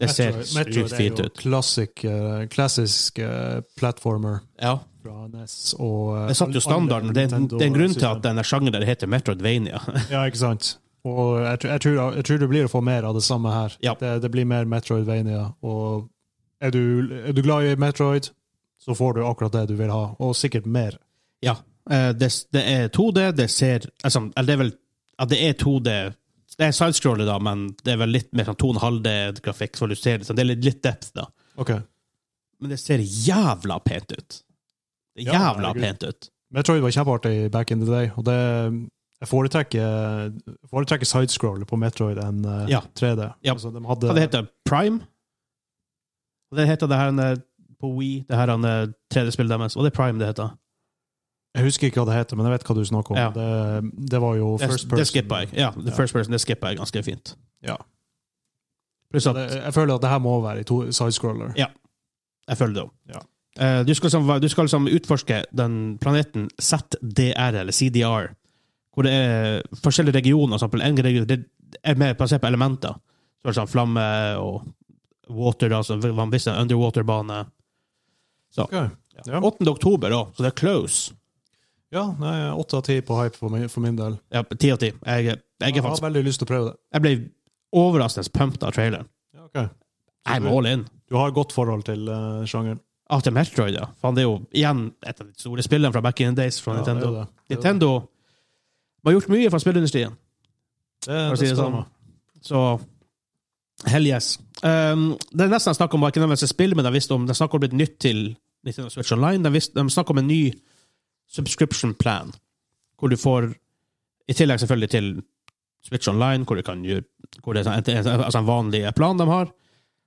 A: Det ser
B: Metroid- Metroid
A: sykt
B: er
A: fint
B: jo
A: ut.
B: Classic, eh, klassisk eh, platformer
A: Ja.
B: fra NES og eh,
A: Det satte jo
B: alle-
A: standarden.
B: alle
A: Det er, det er en grunn til
B: Nintendo-system.
A: at denne sjangeren der heter Metroidvania.
B: Ja, ikke sant. Og jeg, tr- jeg, tror, jeg tror det blir å få mer av det samme her.
A: Ja.
B: Det, det blir mer Metroidvania. Og er du, er du glad i Metroid, så får du akkurat det du vil ha, og sikkert mer.
A: Ja. eh, Det, det er 2D, det ser altså, Eller det er vel Ja, det er 2D. Det er sidescroller, da, men det er vel litt mer sånn 2,5D-grafikk. Så du ser det, sånn, det er litt, litt depth, da.
B: Ok.
A: Men det ser jævla pent ut. Det er
B: Ja,
A: jævla
B: herregud.
A: pent ut.
B: Metroid var kjempeartig back in the day, og det jeg foretrekker, jeg foretrekker sidescroller på Metroid enn eh,
A: Ja.
B: 3D.
A: Ja.
B: Altså, de
A: Hva
B: hadde,
A: det heter Prime? Og det heter det her eh, på Wii, det her eh, 3D-spillet deres. Og det er Prime det heter.
B: jeg husker ikke hva det heter, men jeg vet hva du snakker om.
A: Ja.
B: Det, det var jo
A: Det,
B: first person.
A: det skippa jeg. Ja, the
B: Ja.
A: first person, det skippa jeg ganske fint.
B: Ja.
A: Pluss at
B: Det, jeg føler at det her må være i to sidescroller.
A: Ja. Jeg følger det opp.
B: Ja.
A: Eh, du skal, liksom, du skal liksom utforske den planeten ZDR, eller CDR, hvor det er forskjellige regioner. for Eksempel, en region det er mer basert på elementer. Så er det sånn flamme og water, da, så man visste en underwater-bane.
B: Ok. Ja.
A: 8. oktober, da, så det er close.
B: Ja, nei, åtte av ti på hype for min, for min del.
A: Ja, Ti av ti. Jeg, jeg, er
B: Jeg har
A: faktisk,
B: veldig lyst til å prøve det.
A: jeg ble overraskende pumped av traileren.
B: Ja, ok.
A: I'm all in.
B: Du har godt forhold til eh, sjangeren.
A: Ah, til Metroid, ja. Faen, det er jo igjen et av de store spillene fra back in the days fra
B: Ja,
A: Nintendo.
B: Det, er jo det. Det er jo det.
A: Nintendo har gjort mye for spillindustrien.
B: Det,
A: for å
B: det,
A: si det
B: skal
A: sånn.
B: man.
A: Så hell yes. Um, det er nesten jeg snakker om, ikke nødvendigvis et spill, men jeg visste om, de snakker om et nytt til Nintendo Switch Online. De, visste, de snakker om en ny subscription plan, hvor du får, i tillegg selvfølgelig til Switch Online, hvor, du kan, gjøre- hvor det er sånn- en- en- altså en vanlig plan de har,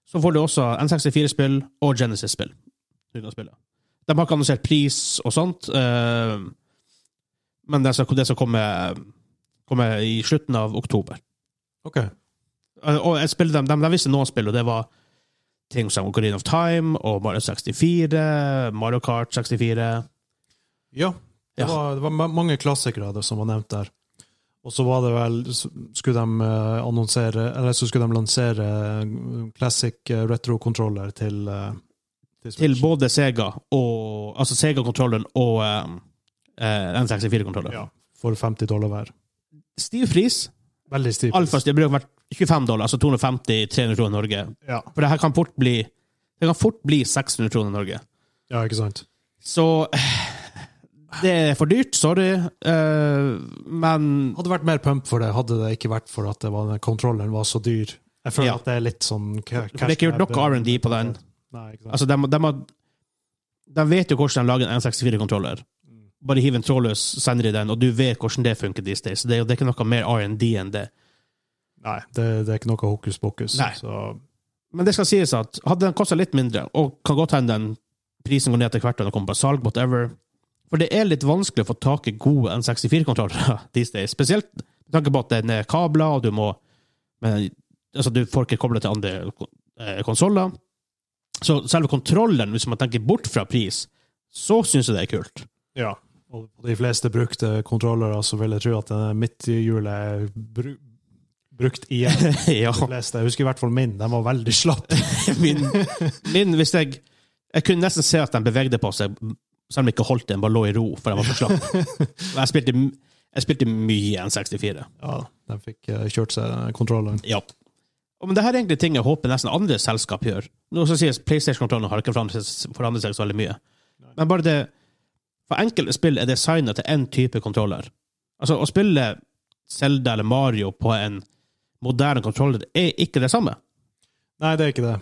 A: så får du også N64-spill og Genesis-spill. uten å spille. De har ikke annonsert pris og sånt, eh, men det skal, det skal komme, komme i slutten av oktober.
B: OK.
A: Eh, Og jeg spilte dem, de, de visste noen spill, og det var ting som Ocarina of Time og Mario 64, Mario Kart 64
B: Ja. Det,
A: Ja.
B: Var, det var ma- mange klassikere det, som var nevnt der. Og så var det vel s- Skulle de eh, annonsere Eller så skulle de lansere eh, classic eh, retro-controller til, eh, til
A: til
B: Switch.
A: både Sega og Altså Sega-kontrollen og um, eh, N64-kontrollen.
B: Ja, for 50 dollar hver.
A: Stiv pris.
B: Veldig stiv. pris.
A: Alfas det burde vært 25 dollar, altså 250-300 kroner i Norge.
B: Ja.
A: For det her kan fort bli Det kan fort bli 600 kroner i Norge.
B: ja, ikke sant?
A: Så eh, Det er for dyrt, sorry, eh, men
B: Hadde vært mer pump for det, hadde det ikke vært for at det var, den kontrolleren var så dyr. Jeg føler
A: Ja.
B: at det er litt sånn ca-
A: For det er ikke gjort nok
B: cash grab. eh,
A: R&D på den.
B: Nei, ikke sant?
A: Altså, de, de, har- de vet jo hvordan de lager en N64-kontroller. Bare hiv en trådløs sender i den, og du vet hvordan det funker these days. Det, er jo- det er ikke noe mer R&D enn det.
B: Nei, det, det er ikke noe hokus pokus.
A: Nei.
B: Så,
A: Men det skal sies at hadde den kosta litt mindre, og kan godt hende den prisen går ned etter hvert, og den kommer på salg, whatever For det er litt vanskelig å få tak i gode N64-kontrollere [LAUGHS] these days. Spesielt med tanke på at den er kabler, og du må men, Altså, du får ikke koblet til andre eh, konsoller. Så selve kontrolleren, hvis man tenker bort fra pris, så syns jeg det er kult. [LAUGHS]
B: ja. Og på de fleste brukte kontrollere så vil jeg tro at den midthjulet er bru, brukt igjen.
A: ja. [LAUGHS]
B: De fleste. Jeg husker i hvert fall min. Den var veldig slapp.
A: Min, min, hvis jeg Jeg kunne nesten se at den bevegde på seg, selv om jeg ikke holdt den, bare lå i ro, for den var for slapp. Men jeg spilte, jeg spilte mye N64.
B: Ja, den fikk eh, kjørt seg, den kontrolleren.
A: Ja. Og, Men det her er egentlig ting jeg håper nesten andre selskap gjør. Nå skal sies PlayStation-kontrollen har ikke forandret seg- forandret seg så veldig mye. Men bare det For enkelte spill er designet til én type kontroller. Altså, å spille Zelda eller Mario på en moderne kontroller er ikke det samme.
B: Nei, det er ikke det.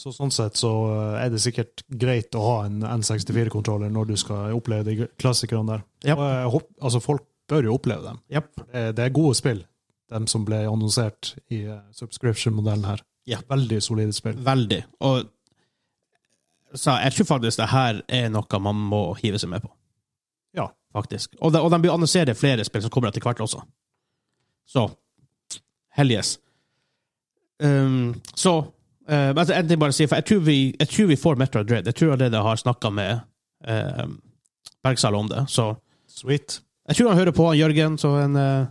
B: Så sånn sett så eh, er det sikkert greit å ha en N64-kontroller når du skal oppleve de klassikerne der.
A: Ja.
B: Og jeg håp, altså, folk bør jo oppleve dem.
A: Yep.
B: Eh, Det er gode spill, dem som ble annonsert i eh, subscription-modellen her.
A: Ja.
B: Veldig solide spill.
A: Veldig. Og så jeg tror faktisk det her er noe man må hive seg med på.
B: Ja.
A: Faktisk. Og de, og de blir annonsere flere spill som kommer etter hvert også. Så hell yes. Um, så eh, men en ting bare å si, for jeg tror vi, jeg tror vi får Metroid Dread. Jeg tror allerede jeg har snakka med uh, Bergsala om det. Så
B: Sweet.
A: jeg tror han hører på, han Jørgen, så en eh,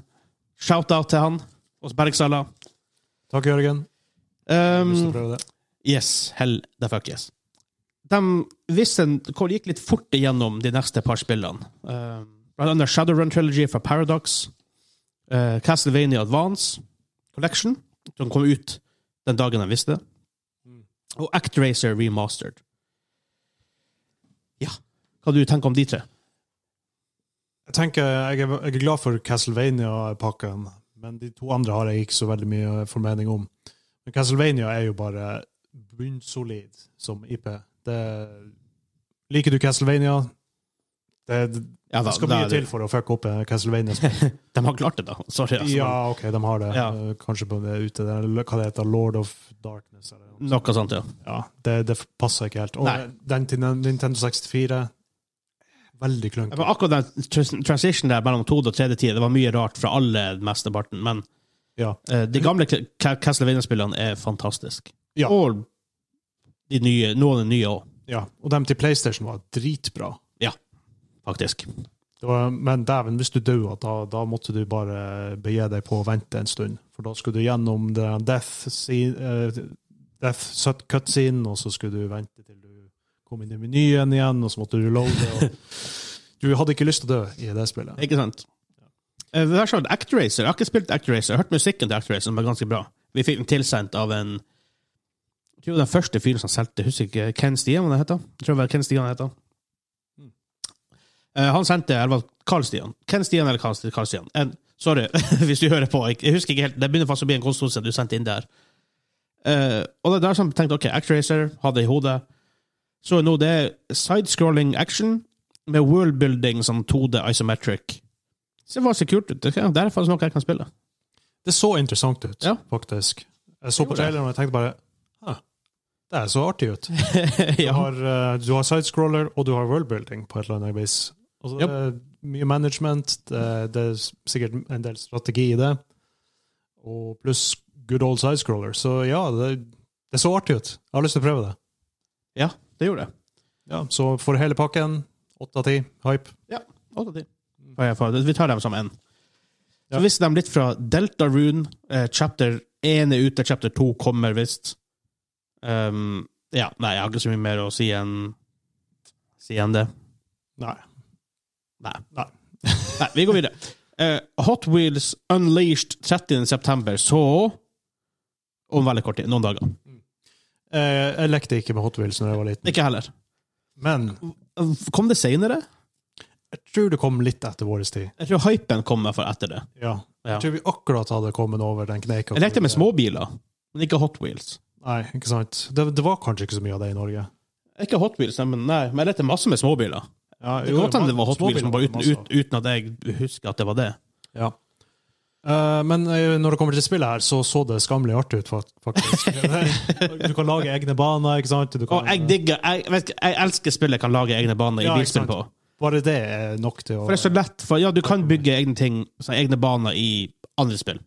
A: shout-out til han hos Bergsala.
B: Takk, Jørgen. Jeg har lyst til å
A: Um,
B: prøve det.
A: Yes, hell the fuck yes. De visste en- hvor det gikk litt fort igjennom de neste par spillene. Eh, Blant annet Shadowrun Trilogy fra Paradox, eh, Castlevania Advance Collection, som kom ut den dagen de visste det, og Actracer Remastered. Ja. Hva du tenker om de tre?
B: Jeg tenker, jeg er, jeg er glad for Castlevania-pakken, men de to andre har jeg ikke så veldig mye formening om. Men Castlevania er jo bare bunnsolid som IP. Det, liker du Castlevania? Det, det,
A: Ja, da,
B: det skal
A: da
B: mye
A: er det-
B: til for å fucke opp
A: [LAUGHS]
B: Castlevania.
A: De har klart det, da. Sorry. altså.
B: Ja, OK, de har det.
A: Ja.
B: Eh, Kanskje på det ute der. eller Hva det heter Lord of Darkness? Eller noe.
A: Noe sånt, ja.
B: Ja, det, det passer ikke helt. Og
A: Nei.
B: den til Nintendo 64 Veldig
A: Ja,
B: klunky.
A: men akkurat den trans- transition der mellom 2. og tredje tid, det var mye rart fra alle mesteparten, men
B: Ja.
A: Eh, De gamle Ca- Castlevania-spillene er fantastiske.
B: Ja.
A: Og de nye, noen av de nye òg,
B: ja. Og dem til PlayStation var dritbra.
A: faktisk.
B: Det var, men dæven, hvis du døde, da, da måtte du bare begi deg på å vente en stund. For da skulle du gjennom det death, scene, eh, death sut- cutscene, og så skulle du vente til du kom inn i menyen igjen, og så måtte du loade. Og [LAUGHS] du hadde ikke lyst til å dø i det spillet.
A: Ikke sant? Eh, vi har sånn Actracer. Jeg har ikke spilt Actracer. Jeg har hørt musikken til Actracer, som er ganske bra. Vi fikk den tilsendt av en Jeg tror det var den første fyren som solgte, jeg husker ikke Ken Stian, hva det heter. Jeg tror det var Ken Stian det heter. Eh, han sendte Eller var det Carl Stian? Ken Stian eller Carl Carl Stian? [LAUGHS] En, sorry, hvis du hører på. Jeg, jeg husker ikke helt. Det begynner faktisk å bli en konstose du sendte inn der. Eh, og det er der som jeg tenkte, ok, X-Racer hadde i hodet. Så nå det er sidescrolling action med worldbuilding som 2D isometric. Så det var så kult ut. Det er det er faktisk noe jeg kan
B: [LAUGHS]
A: spille.
B: Det så interessant ut,
A: Ja.
B: faktisk. Jeg så på
A: gjorde det.
B: traileren og jeg tenkte bare «Hæ, Det er så artig ut. Du
A: ja.
B: har, eh, du har sidescroller, og du har worldbuilding på et eller annet vis. Og så
A: Yep.
B: det er mye management, det, det er sikkert en del strategi i det, og pluss good old sidescroller. Så ja, det, det så artig ut. Jeg har lyst til å prøve det.
A: ja, det gjorde jeg.
B: Ja, så for hele pakken, åtte av ti, hype.
A: Åtte av ti. Ja, ja, for- Vi tar dem som én. Så
B: Mm. Ja.
A: visste de litt fra Delta Rune. Eh, chapter 1 er ute, chapter 2 kommer visst. Um, ja, nei, jeg har ikke så mye mer å si enn si enn det.
B: Nei.
A: Nei.
B: Nei.
A: [LAUGHS] Nei, vi går videre. Eh, Hot Wheels Unleashed 30. september, så om veldig kort tid. Noen dager.
B: Eh, jeg lekte ikke med Hot Wheels når jeg var liten,
A: Ikke heller.
B: men
A: Kom det seinere?
B: jeg tror det kom litt etter vår tid.
A: Jeg tror hypen kom i hvert fall etter det.
B: Ja.
A: Ja.
B: Jeg tror vi akkurat hadde kommet over den kneika.
A: Jeg lekte med småbiler, men ikke Hot Wheels.
B: Nei, ikke sant. Det, det var kanskje ikke så mye av det i Norge.
A: Ikke Hot Wheels, men nei, men jeg lekte masse med småbiler.
B: Ja,
A: Det kan godt hende det var Hot Wheels, men bare uten, ut, uten at jeg husker at det var det.
B: Ja. Eh, men eh, når det kommer til spillet her, så så det skammelig artig ut, fak-
A: [LAUGHS]
B: faktisk. [LAUGHS] du kan lage egne baner, ikke sant? Du kan,
A: Og jeg digger Jeg, vet ikke, jeg elsker spill jeg kan lage egne baner i
B: Ja, ikke
A: bilspill
B: sant.
A: på.
B: Bare det er nok til å
A: For det er så lett, for ja, du kan bygge egne ting, så egne baner i andre spill,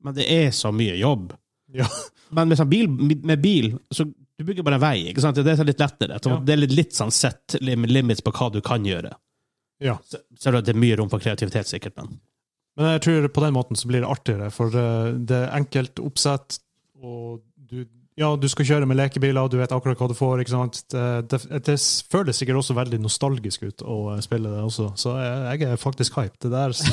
A: men det er så mye jobb.
B: Ja.
A: Men med, sånn bil, med bil, så du bygger bare vei, ikke sant? Det er så litt lettere. Så
B: Ja.
A: Det er litt, litt sånn sett lim, limits på hva du kan gjøre.
B: Ja.
A: Så, så er det- det er mye rom for kreativitet, sikkert, men
B: Men jeg tror på den måten så blir det artigere, for eh, det er enkelt oppsett, og du, ja, du skal kjøre med lekebiler, du vet akkurat hva du får, ikke sant? Det, det, det føles sikkert også veldig nostalgisk ut å eh, spille det også, så jeg, jeg er faktisk hype. Det der så,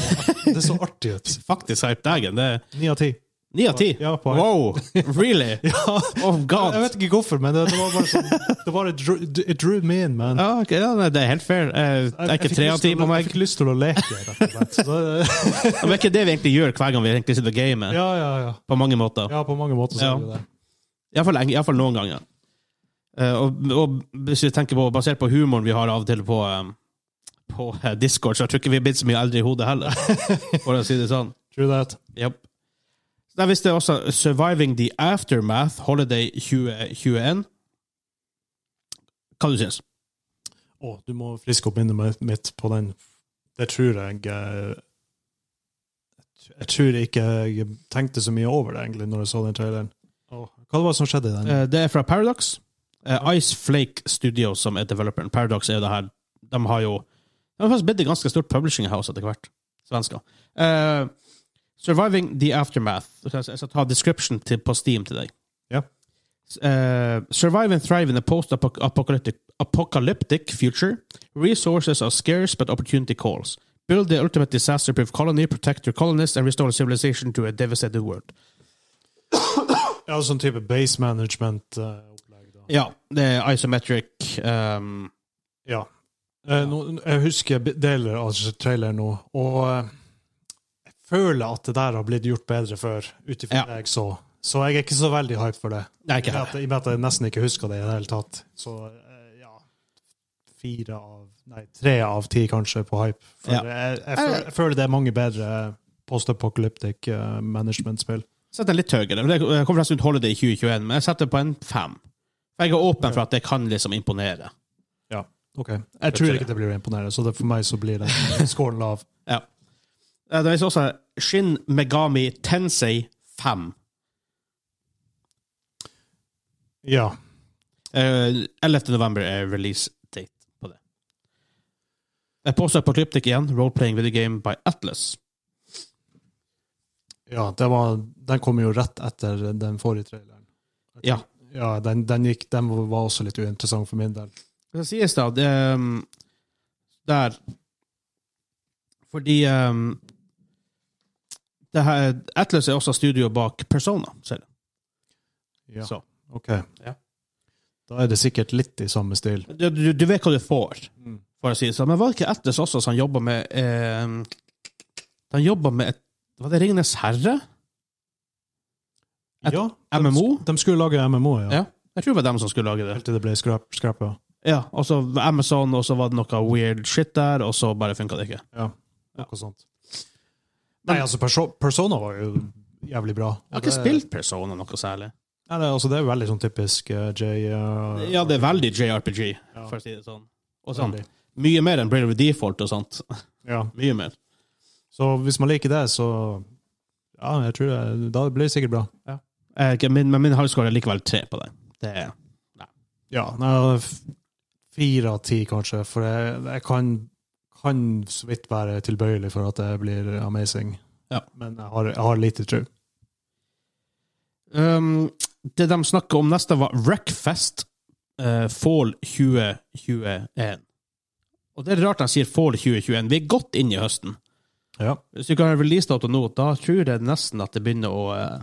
B: det så artig
A: [LAUGHS]
B: ut.
A: faktisk hype dagen. Det er
B: Ni av ti.
A: ni av ti.
B: Ja, på
A: Wow!
B: [LAUGHS]
A: Really? Oh
B: Jeg,
A: god!
B: jeg vet ikke hvorfor, men det, det var bare sånn, det bare drew, it drew me in, man.
A: Ja, ok, ja, nei, det er helt fair. Eh, Det er
B: Jeg- jeg
A: ikke
B: fikk
A: tre
B: lyst
A: av ti
B: til å-
A: på meg.
B: Jeg fikk lyst til å leke, rett og slett. Så,
A: [LAUGHS] Men
B: det- [LAUGHS]
A: Det er ikke det vi egentlig gjør hver gang vi egentlig sitter og gamer,
B: ja, ja, ja.
A: på mange måter.
B: Ja, på mange måter så
A: Ja.
B: er det jo det.
A: Iallfall fall noen ganger. Eh, og, og hvis vi tenker på, basert på humoren vi har av og til på, eh, på eh, Discord, så tror jeg ikke vi er blitt så mye eldre i hodet heller, [LAUGHS] for å si det sånn.
B: True that.
A: Yep. Der visste jeg også 'Surviving the Aftermath Holiday 2021'. Hva du syns
B: Å, du må friske opp minnet mitt- mitt på den. Det tror jeg eh, Jeg tror ikke jeg tenkte så mye over det, egentlig, når jeg så den traileren. Hva var det som skjedde i den?
A: Eh, Det er fra Paradox. Eh, Ice Flake Studio, som er developeren. Paradox er jo det her De har jo De har faktisk blitt et ganske stort publishing house etter hvert. Svensker. Eh, Surviving the Aftermath. Jeg skal ta description til, på Steam til deg.
B: Ja.
A: Eh, survive and thrive in a post-apocalyptic apocalyptic future. Resources are scarce, but opportunity calls. Build the ultimate disaster-proof colony, protect your colonists, and restore civilization to a devastated world.
B: Ja, sånn type base management-opplegg. da.
A: Ja, det er isometric um,
B: Ja. Eh, nå, jeg husker b- deler av traileren nå, og eh, jeg føler at det der har blitt gjort bedre før, ut ifra
A: Ja.
B: det jeg så. Så jeg er ikke så veldig hype for det.
A: Nei, ikke
B: I og med at- I og med at jeg nesten ikke husker det i det hele tatt. Så eh, ja Fire av Nei, tre av ti kanskje på hype. For
A: Ja.
B: jeg, jeg, føler, jeg føler det er mange bedre post-apocalyptic eh, management-spill.
A: Sett den litt høyere. men Det kommer nesten ut holiday i 2021, men jeg setter på en fem. For jeg er åpen for at det kan liksom imponere.
B: Ok. Jeg tror ikke det blir imponerende, så det, for meg så blir det scoren lav.
A: Ja. Eh, Det viser også Shin Megami Tensei 5.
B: Ja.
A: Eh, 11. november er release date på det. Jeg påstår på Klyptik igjen, role-playing video game by Atlas.
B: Ja, det var, den kom jo rett etter den forrige traileren.
A: Ja.
B: Ja, den, den, gikk, den var også litt uinteressant for min del.
A: Det sies da det, um, Der Fordi um, det her, Atlas er også studio bak Persona. Ser du.
B: Ja,
A: Så.
B: ok.
A: Ja.
B: Da er det sikkert litt i samme stil.
A: Du, du, du vet hva du får, for å si det sånn. Men var det ikke Atlas også som jobba med eh, Han jobba med et, Var det Ringenes herre? Et
B: Ja,
A: MMO?
B: De, de skulle lage MMO, ja.
A: Ja. Jeg tror det var dem som skulle lage det.
B: Helt til det ble skrap, skrapa.
A: Ja, og så Amazon, og så var det noe weird shit der, og så bare funka det ikke.
B: Ja, noe sånt. Nei, altså, Perso Persona var jo jævlig bra.
A: Jeg har ikke spilt Persona noe særlig.
B: Nei, det, er- altså, det er veldig sånn typisk eh, J... eh,
A: Ja, det er veldig JRPG,
B: Ja.
A: for å si det sånn. Og sånn.
B: veldig.
A: Mye mer enn Braider of Default og sånt.
B: Ja.
A: Mye mer.
B: Så hvis man liker det, så Ja, jeg tror det, da blir det sikkert bra.
A: Eh, ikke- Min, men min hardscore er likevel tre på det. Det er
B: Ja, nei, f- fire av ti kanskje, for jeg, jeg kan, kan så vidt være tilbøyelig for at det blir amazing.
A: Ja.
B: Men jeg har, jeg har lite tro.
A: Um, det de snakker om neste, var Wreckfest eh, Fall 2021. Og det er rart de sier Fall 2021. Vi er godt inn i høsten.
B: Ja.
A: Hvis du ikke har en releasedato nå, da tror jeg nesten at det begynner å eh,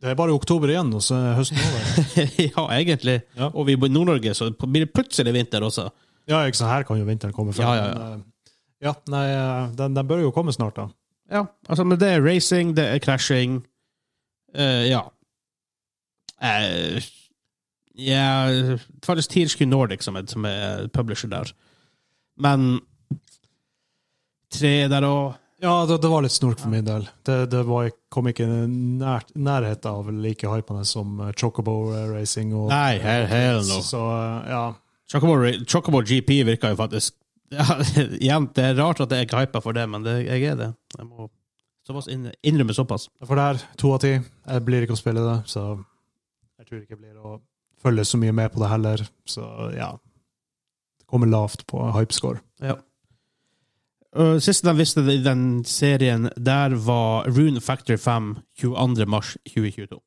B: Det er bare oktober igjen, og så er høsten [LAUGHS] over.
A: eh, [LAUGHS] Ja, egentlig.
B: Ja.
A: Og vi bor i Nord-Norge, så det blir det plutselig vinter også.
B: ja, ikke sant, her kan jo vinteren komme fra.
A: Ja, ja, ja.
B: men, eh, ja nei, eh, den, den bør jo komme snart, da.
A: Ja, altså, men det er racing, det er crashing. Eh, ja. Eh, ja Faktisk Tirsky Nordic som er, som er publisher der. Men tre der òg
B: Ja, det, det var litt snork for min del. Det, det var, kom ikke nær, nærhet av like hypende som eh, Chocobo eh, Racing og
A: Nei, hell, hell no.
B: Så eh, ja.
A: Chocobo, Ra- Chocobo GP virker jo faktisk ja, [LAUGHS] Igjen, det er rart at jeg ikke hyper for det, men det, jeg er det. Jeg må såpass inn- innrømme såpass.
B: For der, to av ti. Jeg blir ikke å spille det, så jeg tror ikke jeg blir å følge så mye med på det heller. Så ja. Det kommer lavt på hypescore.
A: Uh, siste de visste det i den serien, der var Rune Factor 5 22. mars 2022.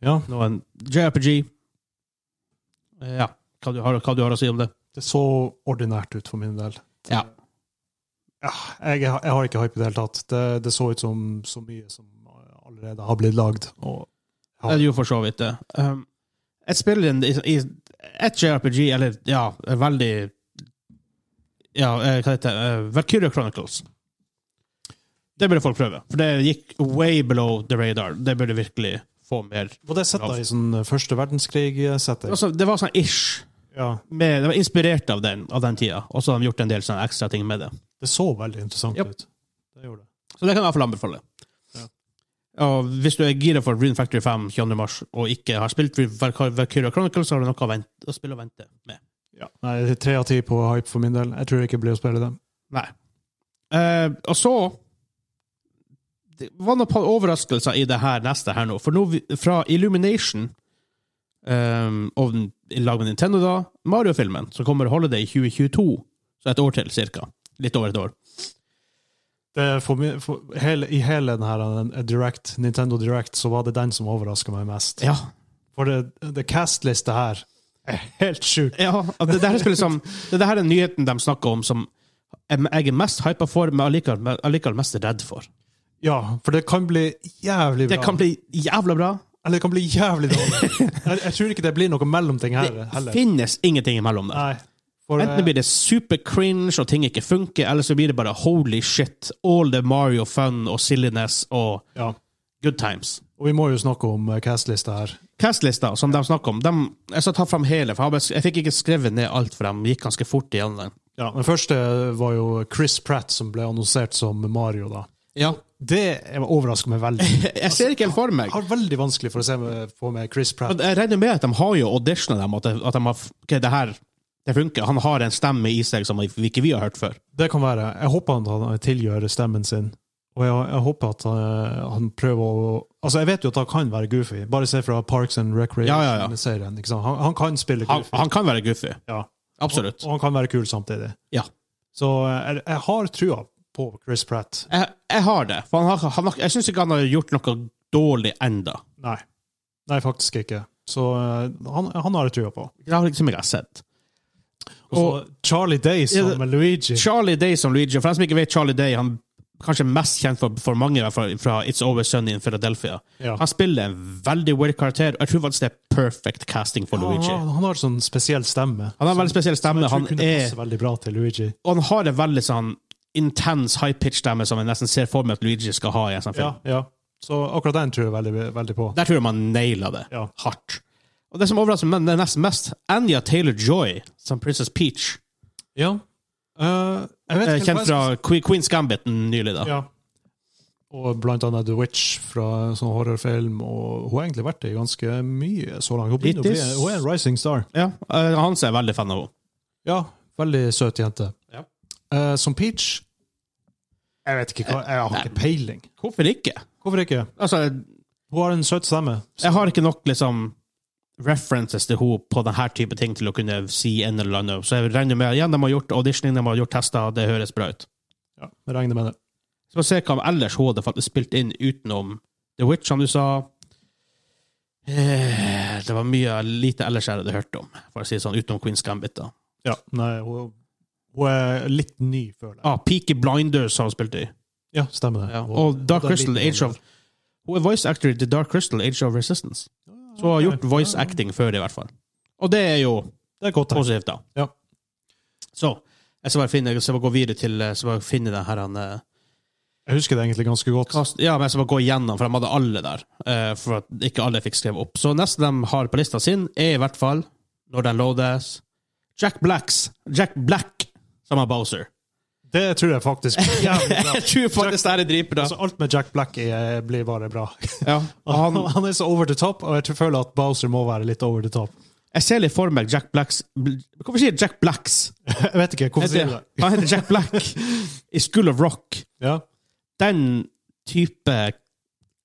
B: Ja,
A: Nå en JRPG. Eh, Ja, hva du, har, hva du har å si om det?
B: det så ordinært ut for min del.
A: Ja.
B: Ja, jeg, jeg har ikke hype i det hele tatt. Det, det så ut som så mye som allerede har blitt lagd. Og
A: Det er jo for så vidt det. Um, jeg spiller en, i, i et JRPG, eller ja, en veldig Ja, eh, hva heter det? Uh, Valkyria Chronicles. Det burde folk prøve, for det gikk way below the radar. Det burde virkelig få mer
B: var det sett da i sånn første verdenskrig-setting?
A: altså, Det var sånn ish.
B: Ja,
A: Med, det var inspirert av den, av den tida, og så har de gjort en del sånne ekstra ting med det.
B: det så veldig interessant
A: Japp.
B: ut. Det gjorde det.
A: Så det kan jeg i hvert fall anbefale.
B: Ja.
A: Og hvis du er gira for Rune Factory 5 22. mars og ikke har spilt Valky- Valkyria Chronicles, så har du noe å, vente, å spille og vente med.
B: Ja. Nei, det er tre av ti på hype for min del. Jeg tror ikke jeg blir å spille det.
A: Nei. Eh, og så Det var noen par overraskelser i det her neste her nå. For nå vi- fra Illumination um, og den- i lag med Nintendo, da, Mario-filmen, som kommer Holiday 2022, så et år til cirka. Litt over et år.
B: Det er for, mi- for, hele, I hele den her eh, Direct, Nintendo Direct så var det den som overraska meg mest.
A: Ja,
B: For det, det castliste her er helt sjukt.
A: Ja, at det, det, her skal liksom, det, det her er nyheten de snakker om som jeg jeg er mest hypa for, men allikevel, men allikevel mest redd for.
B: Ja, for det kan bli jævlig bra.
A: Det kan bli jævla bra.
B: Eller det kan bli
A: [LAUGHS]
B: jævlig dårlig. jeg, jeg tror ikke det blir noe mellomting her
A: Det
B: heller.
A: finnes ingenting imellom der.
B: Nei. For,
A: Enten
B: eh,
A: blir det super cringe og ting ikke funker, eller så blir det bare holy shit, all the Mario fun og silliness og
B: eh, ja.
A: good times.
B: Og vi må jo snakke om eh, castlista her.
A: Castlista, som de snakker om, dem- jeg skal ta fram hele, for jeg, har bare- jeg fikk ikke skrevet ned alt, for de gikk ganske fort igjennom den.
B: Ja, Den første var jo Chris Pratt, som ble annonsert som Mario. da.
A: Ja.
B: Det overrasker meg veldig.
A: [LAUGHS] Jeg ser ikke helt for meg.
B: Jeg har veldig vanskelig for å se meg, få med Chris Pratt.
A: Men Jeg regner med at de har jo auditionet dem, at de, at de har ok, det her det funker. Han har en stemme i seg som vi ikke vi har hørt før.
B: Det kan være. Jeg håper han, han tilgjør stemmen sin. Og jeg, jeg håper at eh, han prøver å Altså, jeg vet jo at han kan være goofy. Bare se fra Parks and
A: Ja, ja, ja.
B: Recreation-serien. ikke sant? han, han kan spille
A: Han,
B: goofy.
A: han kan være goofy.
B: ja.
A: Absolutt.
B: Og, og han kan være kul samtidig.
A: Ja.
B: Så eh, jeg, jeg har trua på Chris Pratt.
A: Jeg, jeg har det. For han har, han har, jeg syns ikke han har gjort noe dårlig enda.
B: Nei. Nei, faktisk ikke. Så eh, han, han har jeg trua på.
A: Det har liksom ikke jeg sett.
B: Og så Charlie Day som
A: Ja, det-
B: Luigi.
A: Charlie Day som Luigi. For dem som ikke vet Charlie Day, han er kanskje mest kjent for, for mange i hvert fall, fra It's Always Sunny in Philadelphia.
B: Ja.
A: Han spiller en veldig weird karakter. og Jeg tror faktisk det er perfect casting for Luigi.
B: Han, han har sånn spesiell stemme.
A: Han har en veldig spesiell stemme. Han
B: kunne
A: er
B: passe veldig bra til Luigi.
A: og han har en veldig sånn intens high pitch stemme som jeg nesten ser for meg at Luigi skal ha i en sånn
B: Ja,
A: film.
B: ja. Så akkurat den tror jeg veldig, veldig på.
A: Der tror jeg man naila det
B: Ja.
A: hardt. Og det som overrasker meg, det er nesten mest Anja Taylor-Joy som Princess Peach.
B: Ja. Eh, jeg vet
A: Eh,
B: ikke hvem
A: Kjent
B: det er
A: fra Que- Queen's Gambit nylig, da.
B: som- Ja. Og blant annet The Witch fra sånn horrorfilm. Og hun har egentlig vært det ganske mye så langt. Hun, begynner å bli,
A: Hittis.
B: hun er en rising star.
A: Ja, eh, Hans er veldig fan av henne.
B: Ja, veldig søt jente.
A: Ja.
B: Eh, som Peach Jeg vet ikke hva, jeg har ikke peiling.
A: Hvorfor ikke?
B: Hvorfor ikke?
A: Altså, jeg-
B: Hun har en søt stemme.
A: jeg har ikke nok liksom references til henne på denne type ting til å kunne si en eller annen, så jeg regner med igjen, de har gjort auditioning, de har gjort tester, det høres bra ut.
B: Ja, jeg regner med det.
A: Så får vi se hva ellers hun hadde faktisk spilt inn utenom The Witch, som du sa. Eh, Det var mye lite ellers jeg hadde hørt om, for å si det sånn, utenom Queen's Gambit. da.
B: Ja, nei, hun, hun er litt ny, føler jeg.
A: Ah, Peaky Blinders har hun spilt i.
B: Ja, stemmer det.
A: Ja.
B: Hun-
A: Og Dark
B: hun er
A: Crystal,
B: litt
A: Age of
B: annerledes.
A: Hun er voice actor i The Dark Crystal, Age of Resistance. Så hun har gjort voice acting før, i hvert fall. Og det er jo
B: Det er godt. tegn.
A: positivt, da.
B: Ja.
A: Så jeg skal bare finne, jeg skal bare gå videre til jeg skal bare finne den her han, eh,
B: Jeg husker det egentlig ganske godt.
A: kast, Ja, men jeg skal bare gå igjennom, for de hadde alle der. eh, For at ikke alle fikk skrevet opp. Så neste de har på lista sin, er i hvert fall, når den loades, Jack Blacks Jack Black som er Bowser.
B: Det tror jeg faktisk.
A: [LAUGHS]
B: Jævlig bra.
A: Jeg tror faktisk det her er dritbra.
B: Altså, alt med Jack Black er, blir bare bra.
A: Ja,
B: Han,
A: han,
B: han er så over the top, og jeg tror- føler at Bowser må være litt over the top. [LAUGHS]
A: Jeg ser litt for meg Jack Blacks bl- Hvorfor sier jeg Jack Blacks?
B: Jeg vet ikke, hvorfor sier du
A: Heter,
B: det?
A: han heter Jack Black i School of Rock.
B: Ja,
A: Den type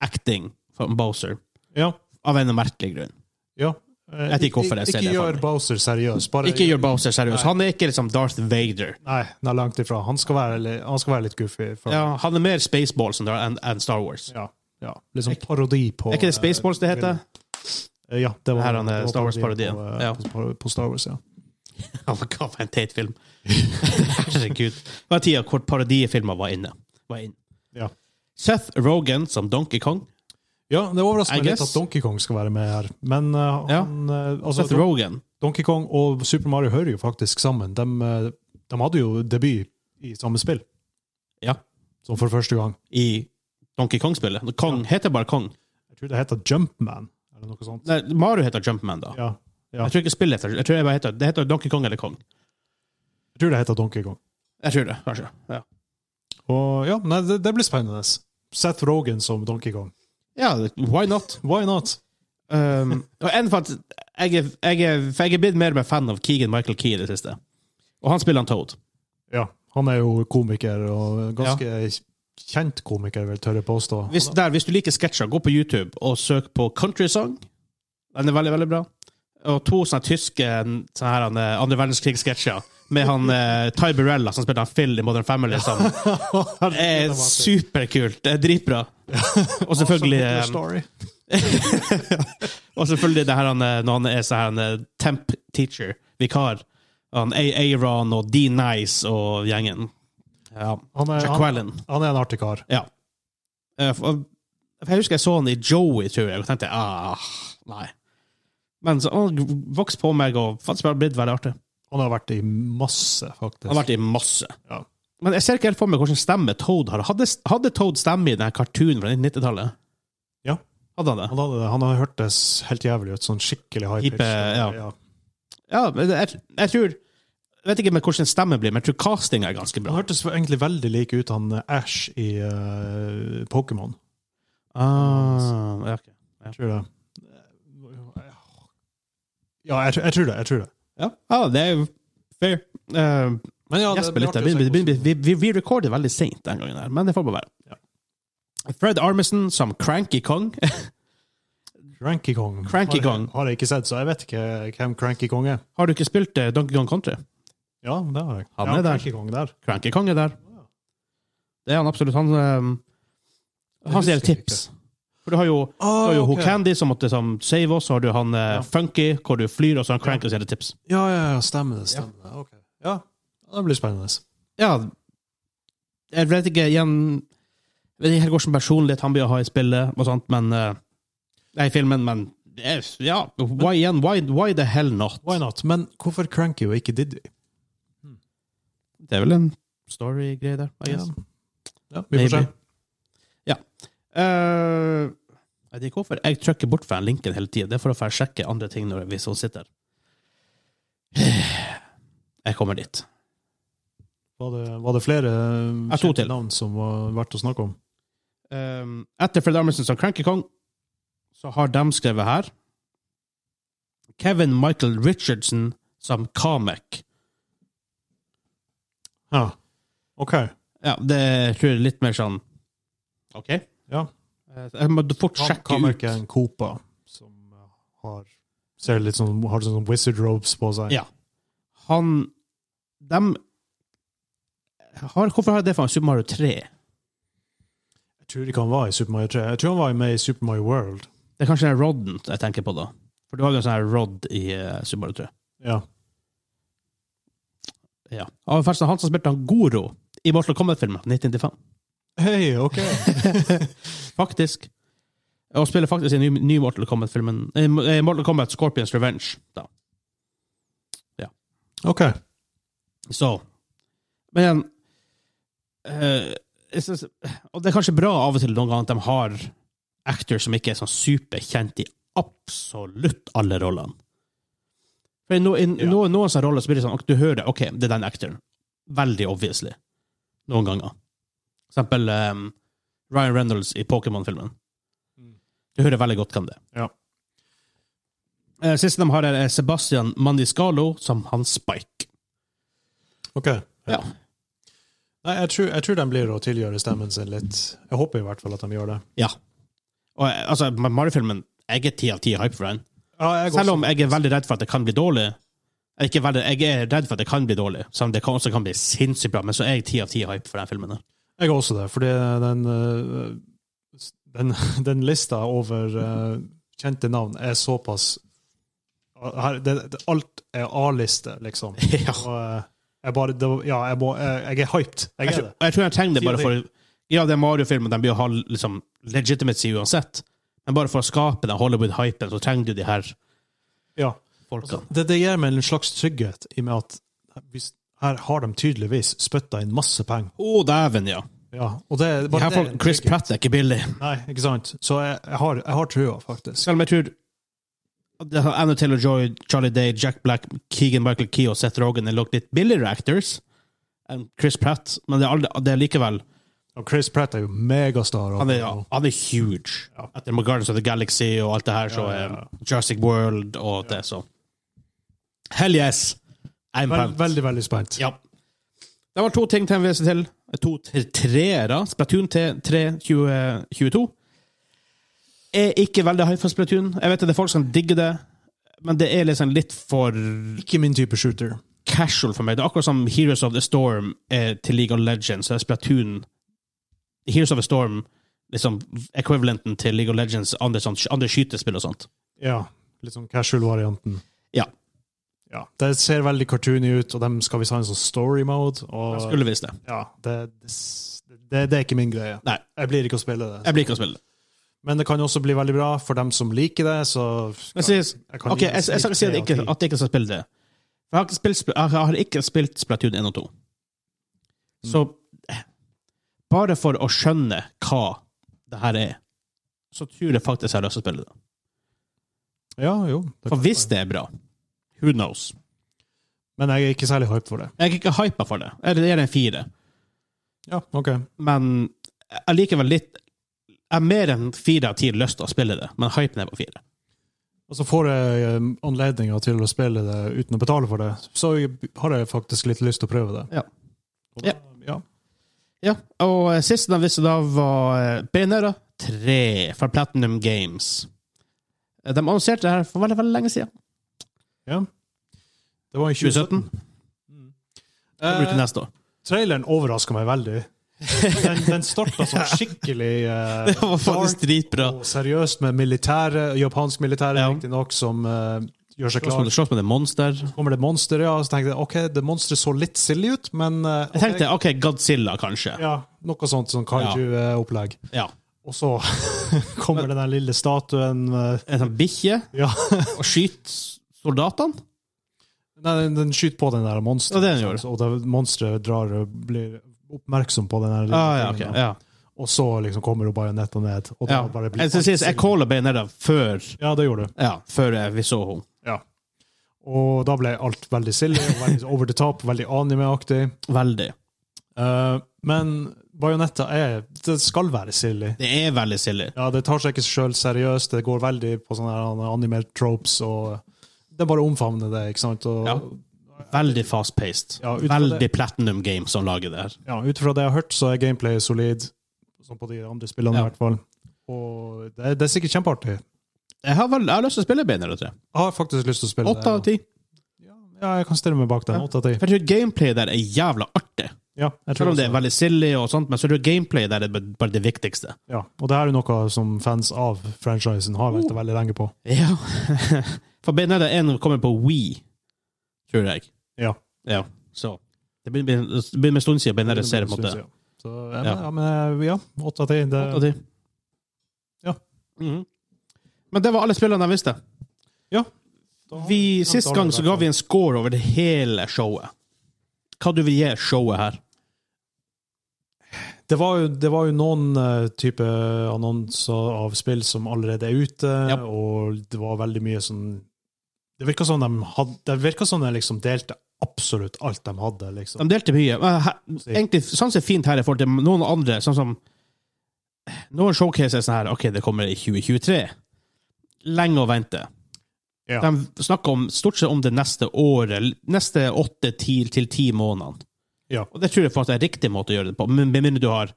A: acting fra Bowser,
B: ja,
A: av en merkelig grunn.
B: ja. Eh,
A: vet ikke hvorfor jeg ser
B: ikke
A: det for
B: gjør
A: meg.
B: Bowser seriøs. Bare,
A: Ikke gjør Bowser seriøs. Han er ikke liksom Darth Vader.
B: Nei, nei, langt ifra. Han skal være, li- han skal være litt goofy. For,
A: Ja, han er mer Spaceballs enn enn- enn Star Wars.
B: ja, ja. Litt sånn parodi på
A: Er ikke det Spaceballs det [LAUGHS] heter?
B: eh, Ja, det var
A: Her han, eh,
B: det var
A: Star Wars-parodien.
B: På, eh,
A: Ja.
B: på, på Star Wars, ja.
A: Ja, men hva for en teit film. Herregud. Det var tida hvor parodifilmer var inne. Var inn.
B: Ja.
A: Seth Rogan som Donkey Kong.
B: Ja, det overrasker
A: I
B: meg litt
A: guess.
B: at Donkey Kong skal være med her. Men eh,
A: Ja.
B: han, eh, altså,
A: Seth Rogan.
B: Donkey Kong og Super Mario hører jo faktisk sammen. De, eh, de hadde jo debut i samme spill,
A: Ja.
B: som for første gang.
A: I Donkey Kong-spillet. Kong heter bare Kong.
B: Jeg tror det heter Jumpman, eller noe sånt.
A: Nei, Mario heter Jumpman, da.
B: Ja. Ja.
A: Jeg tror ikke spillet heter Jeg tror jeg bare heter, det heter Donkey Kong eller Kong.
B: Jeg tror det heter Donkey Kong.
A: Jeg tror det, kanskje. Ja,
B: Og ja, nei, det, det blir spennende. Seth Rogan som Donkey Kong.
A: ja why not?
B: Why not?
A: Um, og en for at jeg, er- jeg, er- for jeg er blitt mer og mer fan av Keegan Michael Key i det siste. Og han spiller han Toad.
B: [LAUGHS] Ja, han er jo komiker, og ganske kjent komiker, vil jeg tørre påstå. [LAUGHS]
A: Hvis, der, hvis du liker sketsjer, gå på YouTube og søk på Country Song. Den er veldig, veldig bra. Og to sånne tyske sånne her, han, eh, andre verdenskrig-sketsjer med han eh, Ty Burrella som spilte han Phil i Modern Family. Som er superkult. Det er dritbra. Og selvfølgelig
B: Awesome Hitler
A: eh,
B: Story.
A: Og selvfølgelig det her han, eh, når han er så her han eh, temp teacher, vikar. Han A- Aaron og D Nice og gjengen. Ja.
B: Han er, han,
A: Jaquelin.
B: han er en artig kar.
A: Ja. Eh, for- for Jeg husker jeg så han i Joey, tror jeg, og tenkte ah, nei. Men så han vokste på meg og faktisk bare blitt veldig artig.
B: Han har vært i masse, faktisk.
A: Han har vært i masse.
B: Ja.
A: Men jeg ser ikke helt for meg hvilken stemme Toad har. Hadde, hadde Toad stemme i den cartoonen fra 90-tallet?
B: Ja.
A: Hadde han det?
B: Han, hadde, han har hørtes helt jævlig ut. Sånn skikkelig high pitch.
A: Hippe, ja. Ja, men jeg, jeg tror Jeg vet ikke med hvordan stemme blir, men jeg tror castinga er ganske
B: Han
A: bra.
B: hørtes egentlig veldig lik ut han eh, Ash i eh, Pokémon.
A: Ah, ja, ok.
B: Tror det. Ja, jeg, tror- jeg tror det. Jeg tror det.
A: ja. ja, det er jo fair. Eh,
B: Men ja,
A: Jesper litt. Vi, vi, vi, vi, vi recorder veldig seint den gangen, her, men det får bare være. Fred Armisen som Cranky Kong. [LAUGHS]
B: Cranky Kong.
A: Cranky
B: har,
A: Kong.
B: Jeg, har jeg ikke sett, så jeg vet ikke hvem Cranky Kong er.
A: Har du ikke spilt eh, Donkey Kong Country?
B: Ja, det har jeg.
A: Han
B: ja,
A: er der.
B: Cranky Kong der.
A: Cranky Kong er der. Det er han absolutt. Han, eh, han
B: Det
A: sier
B: husker jeg Ah,
A: tips. For du har jo, du har jo Ho Candy som måtte som, save oss, og har du han eh,
B: Ja.
A: Funky hvor du flyr, og så har han Cranky som gir deg tips.
B: Ja, ja, ja, stemmer det. Stemmer det. Ok. Ja, det blir spennende.
A: ja Jeg vet ikke igjen Jeg vet ikke helt hvilken personlighet han bør ha i spillet, og sånt, men eh, Nei, i filmen, men eh, Ja, why igjen? Why, why the hell not?
B: Why not? Men hvorfor Cranky og ikke Diddy?
A: Det er vel en story-greie der, I guess.
B: Ja. Ja, vi får se.
A: Maybe. Eh, jeg vet ikke hvorfor jeg trykker bort fra den linken hele tiden. Det er for å få sjekke andre ting når, hvis hun sitter. [SIGHS] Jeg kommer dit.
B: Var det, var det flere
A: Ja,
B: eh,
A: to til.
B: kjente navn som var verdt å snakke om?
A: Um, etter Fred Armisen som Cranky Kong, så har de skrevet her Kevin Michael Richardson som Kamek.
B: Ja. OK.
A: Ja, det tror jeg er litt mer sånn OK.
B: Ja.
A: Eh, Jeg må fort
B: Kan,
A: sjekke
B: kan
A: ut.
B: ikke en Copa som har Ser litt sånn, har sånn wizard robes på seg.
A: Ja. Han De har, Hvorfor har jeg det for en Super Mario 3?
B: Jeg tror ikke han var i Super Mario 3. Jeg tror han var med i Super Mario World.
A: Det er kanskje den rodden jeg tenker på, da. For du har jo en sånn her rodd i eh, Super Mario 3.
B: Ja.
A: Ja. Og forresten, han som spilte han Goro i Mortal Kombat-filmen 1995.
B: Hei, OK!
A: [LAUGHS] Faktisk. Og spiller faktisk i en ny, ny Mortal Kombat-filmen eh, Mo- eh, Mortal Kombat Scorpions Revenge. Da.
B: OK.
A: Så Men igjen eh, jeg synes, Og det er kanskje bra av og til noen ganger at de har actors som ikke er sånn superkjent i absolutt alle rollene. For i no, i
B: Ja.
A: noen, noen sånne roller så blir det sånn ok, Du hører OK, det er den actoren. Veldig obviously. Noen ganger. For eksempel eh, Ryan Reynolds i Pokémon-filmen.
B: Mm.
A: Du hører veldig godt hvem det er.
B: Ja.
A: Eh, Siste de har, er Sebastian Mandiscalo som han Spike.
B: Ok.
A: Ja.
B: Nei, jeg tror, jeg tror de blir å tilgjøre stemmen sin litt. Jeg håper i hvert fall at de gjør det.
A: Ja. Og eh, altså, Mario-filmen Jeg er ti av ti hype for den.
B: Ja, jeg
A: Selv om jeg er veldig redd for at det kan bli dårlig. Jeg er, ikke veldig, jeg er redd for at det kan bli dårlig, selv om det kan, også kan bli sinnssykt bra. Men så er jeg ti av ti hype for den filmen. her.
B: Jeg har også det, fordi den, eh, den, [LAUGHS] den lista over eh, kjente navn er såpass eh, her, det, det, Alt er A-liste, liksom.
A: [LAUGHS] ja.
B: Og, eh, jeg bare, det, var- ja, jeg, må, eh, jeg, jeg er hyped.
A: jeg,
B: Jeg er
A: tror,
B: det.
A: jeg tror jeg trenger det
B: Ti av
A: bare
B: ti.
A: for Ja, det er Mario-filmen, den blir å ha liksom, legitimacy uansett. Men bare for å skape den Hollywood-hypen, så trenger du de her
B: Ja.
A: folkene.
B: Det, det gir meg en slags trygghet i og med at hvis, her har de tydeligvis spytta inn masse penger.
A: Å, dæven, ja.
B: Ja, og det,
A: De
B: bare
A: her
B: det er
A: folk,
B: en
A: Chris
B: trygghet.
A: Pratt er ikke billig.
B: Nei, ikke sant. Så jeg, jeg, har, jeg har trua, faktisk.
A: Selv om jeg tror det har Anna Taylor-Joy, Charlie Day, Jack Black, Keegan Michael Key og Seth Rogen er nok litt billigere actors enn Chris Pratt, men det er, aldri, det er likevel
B: Og Chris Pratt er jo megastar.
A: Han er, han er huge.
B: Ja.
A: Etter med Guardians of the Galaxy og alt det her, så
B: Ja, ja,
A: er
B: ja.
A: Jurassic World og det, så Hell yes! I'm
B: Vel-
A: pumped.
B: veldig, veldig spent.
A: Ja. Det var to ting til MVC til. To tre- treere. Splatoon til 3 2022. Er ikke veldig hype for Splatoon. Jeg vet at det er folk som digger det, men det er liksom litt for
B: Ikke min type shooter.
A: casual for meg. Det er akkurat som Heroes of the Storm er til League of Legends. Så er Splatoon Heroes of the Storm liksom equivalenten til League of Legends, andre, sånt, andre skytespill og sånt.
B: Ja, Litt sånn casual-varianten.
A: Ja.
B: Ja, Det ser veldig cartoony ut, og dem skal vi ha en sånn story mode. Og,
A: Jeg skulle visst det.
B: ja, det, det, s- det, det er ikke min greie.
A: Nei.
B: Jeg blir ikke å spille det.
A: Jeg blir ikke å spille det.
B: Men det kan også bli veldig bra for dem som liker det. så...
A: Men sies,
B: jeg kan
A: Ok,
B: gi
A: jeg, jeg, skal ikke si at jeg
B: tre
A: ikke,
B: av ti.
A: at jeg ikke skal spille det. For jeg har ikke spilt, Spl- jeg har ikke spilt Splatoon 1 og 2. Så eh, bare for å skjønne hva det her er, så tror jeg faktisk jeg har lyst til å spille det.
B: Ja, jo. det kan
A: For hvis
B: være.
A: det er bra, who knows?
B: Men jeg er ikke særlig hyped for det.
A: Jeg er ikke hypa for det. Eller det er en fire.
B: Ja, ok.
A: Men allikevel litt Jeg har mer enn fire av ti lyst til å spille det, men hypen er på fire.
B: Og så får jeg eh, anledninger til å spille det uten å betale for det. Så jeg- har jeg faktisk litt lyst til å prøve det.
A: Ja.
B: Og da- ja.
A: Ja, og eh, siste de visste da var eh, Bayonetta 3 fra Platinum Games. Eh, De annonserte det her for veldig, veldig lenge siden.
B: Det var i
A: 2017.
B: 2017.
A: Kommer ut til
B: Eh,
A: neste år.
B: traileren overraska meg veldig. Den, den starta sånn
A: [LAUGHS]
B: skikkelig eh,
A: Det var faktisk dritbra.
B: dark og seriøst med militære, japansk militære,
A: Ja.
B: riktignok, som eh, gjør seg
A: Slåss med-
B: klar.
A: Slåss med det monster.
B: Så kommer det monster, ja. og Så tenkte jeg ok, det monsteret så litt silly ut, men eh,
A: Jeg
B: ok,
A: tenkte OK, Godzilla, kanskje.
B: ja, Noe sånt sånn kaiju-opplegg.
A: Ja.
B: Og så [LAUGHS] kommer den der lille statuen eh,
A: En sånn bikkje.
B: Ja.
A: [LAUGHS] Og skyter soldatene.
B: Nei, den, den skyter på den der
A: Ja,
B: monsteren.
A: det den gjør.
B: Og det monsteret drar og blir oppmerksom på den der lille
A: Ah, ja, ok.
B: tingen.
A: Ja.
B: og så liksom kommer jo bare netta ned. Og da
A: Ja.
B: bare blir
A: Jeg, skal si, jeg calla Bayonetta før,
B: Ja, det gjorde du.
A: ja, før eh, vi så henne.
B: Ja. Og da ble alt veldig silly, og veldig [LAUGHS] over the top, veldig anime-aktig.
A: Veldig.
B: Eh, men Bajonetta er Det skal være silly.
A: Det er veldig silly.
B: Ja, det tar seg ikke sjøl seriøst, det går veldig på sånne her anime tropes, og det er bare å omfavne det, ikke sant? Og,
A: Ja. Veldig fast-paced.
B: Ja, ut fra
A: veldig
B: det-
A: Platinum Game som lager det her.
B: ja, ut fra det jeg har hørt, så er gameplay solid, som på de andre spillene
A: Ja.
B: i hvert fall. Og det er, det er sikkert kjempeartig.
A: Jeg har, vel, jeg har lyst til å spille Bayonetta 3.
B: Jeg har faktisk lyst til å spille
A: Åtte av ti.
B: Ja, jeg kan stille meg bak den. Åtte av ti.
A: For jeg tror gameplay der er jævla artig.
B: Ja, jeg tror
A: Selv om det
B: også-
A: er veldig silly, og sånt, men så er det gameplay der er bare det viktigste.
B: Ja, og det her er jo noe som fans av franchisen har vært veldig lenge på.
A: Ja. [LAUGHS] For Bayonetta 1 kommer på Wii, tror jeg.
B: Ja.
A: Ja, så. Det begynner det begynner med en stund siden Bayonetta ser på en måte.
B: Ja. Så,
A: Ja.
B: ja, men- ja, men eh, ja, åtte av ti. Det,
A: Åtte av ti.
B: Ja.
A: Mhm. Men det var alle spillene jeg visste. Vi, sist gang så ga vi en score over det hele showet. Hva du vil gi showet her?
B: det var, jo, det var jo noen eh, type annonser av spill som allerede er ute,
A: Ja.
B: og det var veldig mye sånn Det virka som de hadde Det virka som de liksom delte absolutt alt de hadde, liksom.
A: De delte mye. Men her, egentlig sånn som er fint her i forhold til noen andre, sånn som Noen showcases er sånn her OK, det kommer i 2023. Lenge å vente.
B: Ja.
A: De snakker om, stort sett om det neste året. Neste åtte ti- til ti månedene.
B: Ja.
A: Og det tror jeg faktisk er riktig måte å gjøre det på, men med mindre du har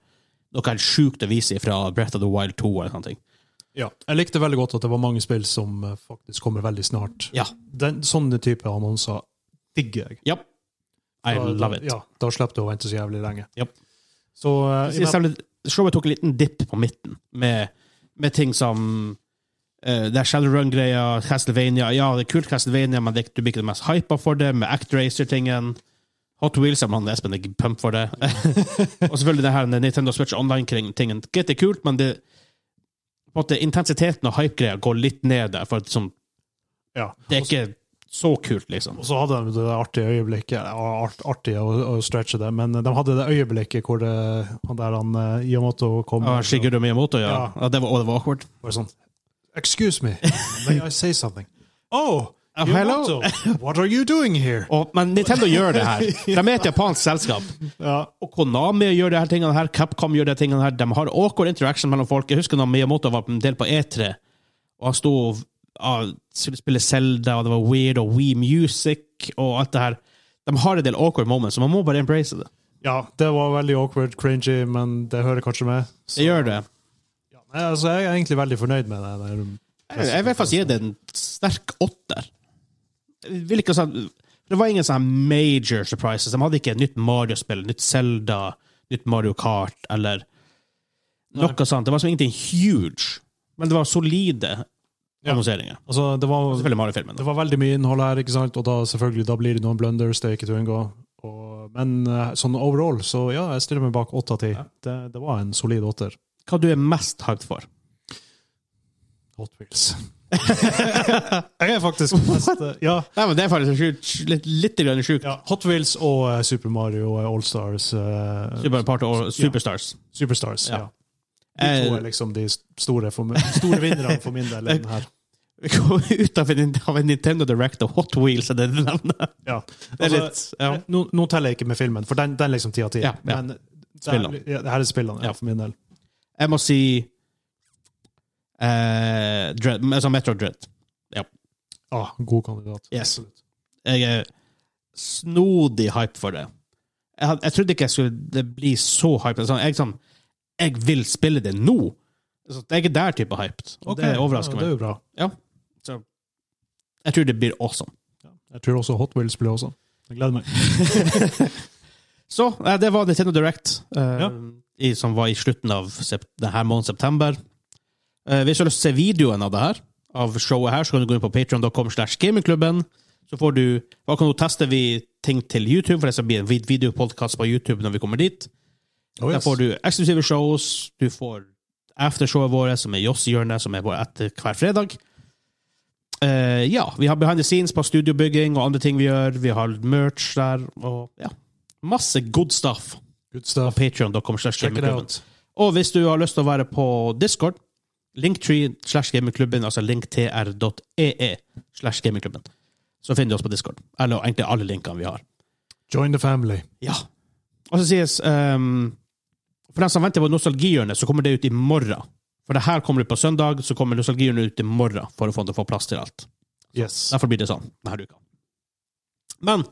A: noe helt sjukt å vise fra Breath of the Wild 2 eller sånne ting.
B: Ja. Jeg likte veldig godt at det var mange spill som eh, faktisk kommer veldig snart.
A: Ja.
B: Den, sånne type annonser digger jeg.
A: Yep. I
B: Da-
A: love it.
B: Ja, da slipper du å vente så jævlig lenge.
A: Japp.
B: Så eh,
A: Jeg synes selv- Showet tok en liten dipp på midten, med, med ting som eh, Det er Shadowrun-greia, Castlevania Ja, det er kult Castlevania, men det, du blir ikke det mest hypa for det, med Actracer-tingen. Hot Wheels er man Espen er ikke pump for det. [LAUGHS] og selvfølgelig det her med Nintendo Switch Online-tingen. Greit, det er kult, men det på en måte, intensiteten og hype-greia går litt ned der, for at, sånn,
B: ja.
A: det er ikke så kult, liksom.
B: Og så hadde de det artige øyeblikket ja, art, Artig å, å stretche det, men de hadde det øyeblikket hvor det, han der han eh, Yamato kom
A: Ja, Shigeru Miyamoto, ja.
B: Ja.
A: ja det var, og det var awkward.
B: og var sånn Excuse me, may I
A: [LAUGHS]
B: say something? Oh,
A: Oh,
B: Yamato,
A: hello.
B: what are you doing here?
A: Og, men
B: [LAUGHS]
A: Nintendo gjør det her. De er et japansk selskap.
B: Ja,
A: Og Konami gjør de her tingene her, Capcom gjør de her tingene her. De har awkward interaction mellom folk. Jeg husker da Miyamoto var en del på E3, og han sto og ja, skulle spille Zelda, og det var weird, og We Music, og alt det her. De har en del awkward moments, så man må bare embrace det.
B: ja, det var veldig awkward, cringy, men det hører kanskje med. Så,
A: Det gjør det.
B: ja, nei, altså, jeg er egentlig veldig fornøyd med det. der.
A: Jeg, jeg vil faktisk gi det en sterk åtter. Jeg vil ikke si Det var ingen sånne major surprises. De hadde ikke et nytt Mario-spill, nytt Zelda, nytt Mario Kart, eller noe sånt. Det var som ingenting huge, men det var solide
B: Ja.
A: annonseringer.
B: Altså, det var
A: Selvfølgelig Mario-filmen.
B: Det
A: da.
B: var veldig mye innhold her, ikke sant? og da selvfølgelig da blir det noen blunders. det er ikke til å unngå. Og, men eh, sånn overall, så ja, jeg stiller meg bak åtte av ti. Det, det var en solid åtter.
A: Hva du er mest hyped for?
B: Hot Wheels. [LAUGHS] jeg er faktisk mest, eh, ja,
A: Nei, men Det er faktisk sjukt, litt, litt grann sjukt.
B: ja, Hot Wheels og eh, Super Mario eh, Allstars. eh,
A: Super Party og Superstars.
B: Superstars.
A: Ja.
B: Ja. De to
A: Eh,
B: er liksom de store, for, min- store vinnerne for min del. i den her.
A: [LAUGHS] Vi kom ut av en, av en Nintendo Direct og Hot Wheels er det du nevner.
B: Ja.
A: Det er
B: Altså,
A: litt, ja.
B: Nå, nå teller jeg ikke med filmen, for den, den er liksom ti av ti.
A: Ja, ja.
B: Men
A: Spillene.
B: der, ja, det her er spillene,
A: Ja.
B: ja, for min del.
A: Jeg må si eh, Dread, altså Metro Dread.
B: Ah, god kandidat.
A: Yes. Jeg er snodig hype for det. Jeg, had- jeg trodde ikke jeg skulle det bli så hype. Sånn, jeg, sånn, jeg vil spille det nå! Så jeg er der type hyped. Og det overrasker
B: ja, Det
A: meg.
B: er jo bra.
A: Jeg tror det blir awesome.
B: Jeg tror også Hot Wheels blir også. Jeg gleder meg.
A: Så eh, det var Nintendo Direct, eh,
B: Ja.
A: i, som var i slutten av sep denne måneden, september. Eh, hvis du har lyst til å se videoen av det her, av showet her, så kan du gå inn på patreon.com slash gamingklubben. Så får du Da kan du teste vi ting til YouTube, for det skal bli en vid- videopodcast på YouTube når vi kommer dit.
B: Oh,
A: Der får du eksklusive shows, du får aftershowet vårt, som er Joss-hjørnet, som er vår etter hver fredag. Eh, ja, vi har behind the scenes på studiobygging og andre ting vi gjør. Vi har merch der, og ja. Masse good stuff
B: Good
A: på
B: stuff.
A: patreon.com. slash
B: Check it
A: gamerklubben.
B: out.
A: Og hvis du har lyst til å være på Discord, linktree slash gamingklubben, altså linktr.ee slash gamingklubben, så finner du oss på Discord. Eller egentlig alle linkene vi har.
B: Join the family.
A: Ja. Og så sies ehm, For dem som venter på Nostalgihjørnet, så kommer det ut i morgen. For det her kommer ut på søndag, så kommer Nostalgihjørnet ut i morgen for å få, få plass til alt.
B: Yes.
A: Derfor blir det sånn denne uka. Men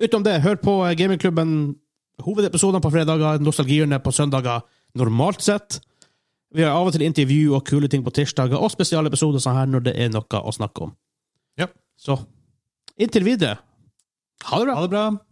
A: utenom det, hør på eh, gamingklubben. Hovedepisodene på fredager, Nostalgihjørnet på søndager normalt sett. Vi har av og til intervju og kule ting på tirsdager, og spesialepisoder sånn her når det er noe å snakke om.
B: Ja.
A: Så inntil videre, ha det bra.
B: Ha det bra.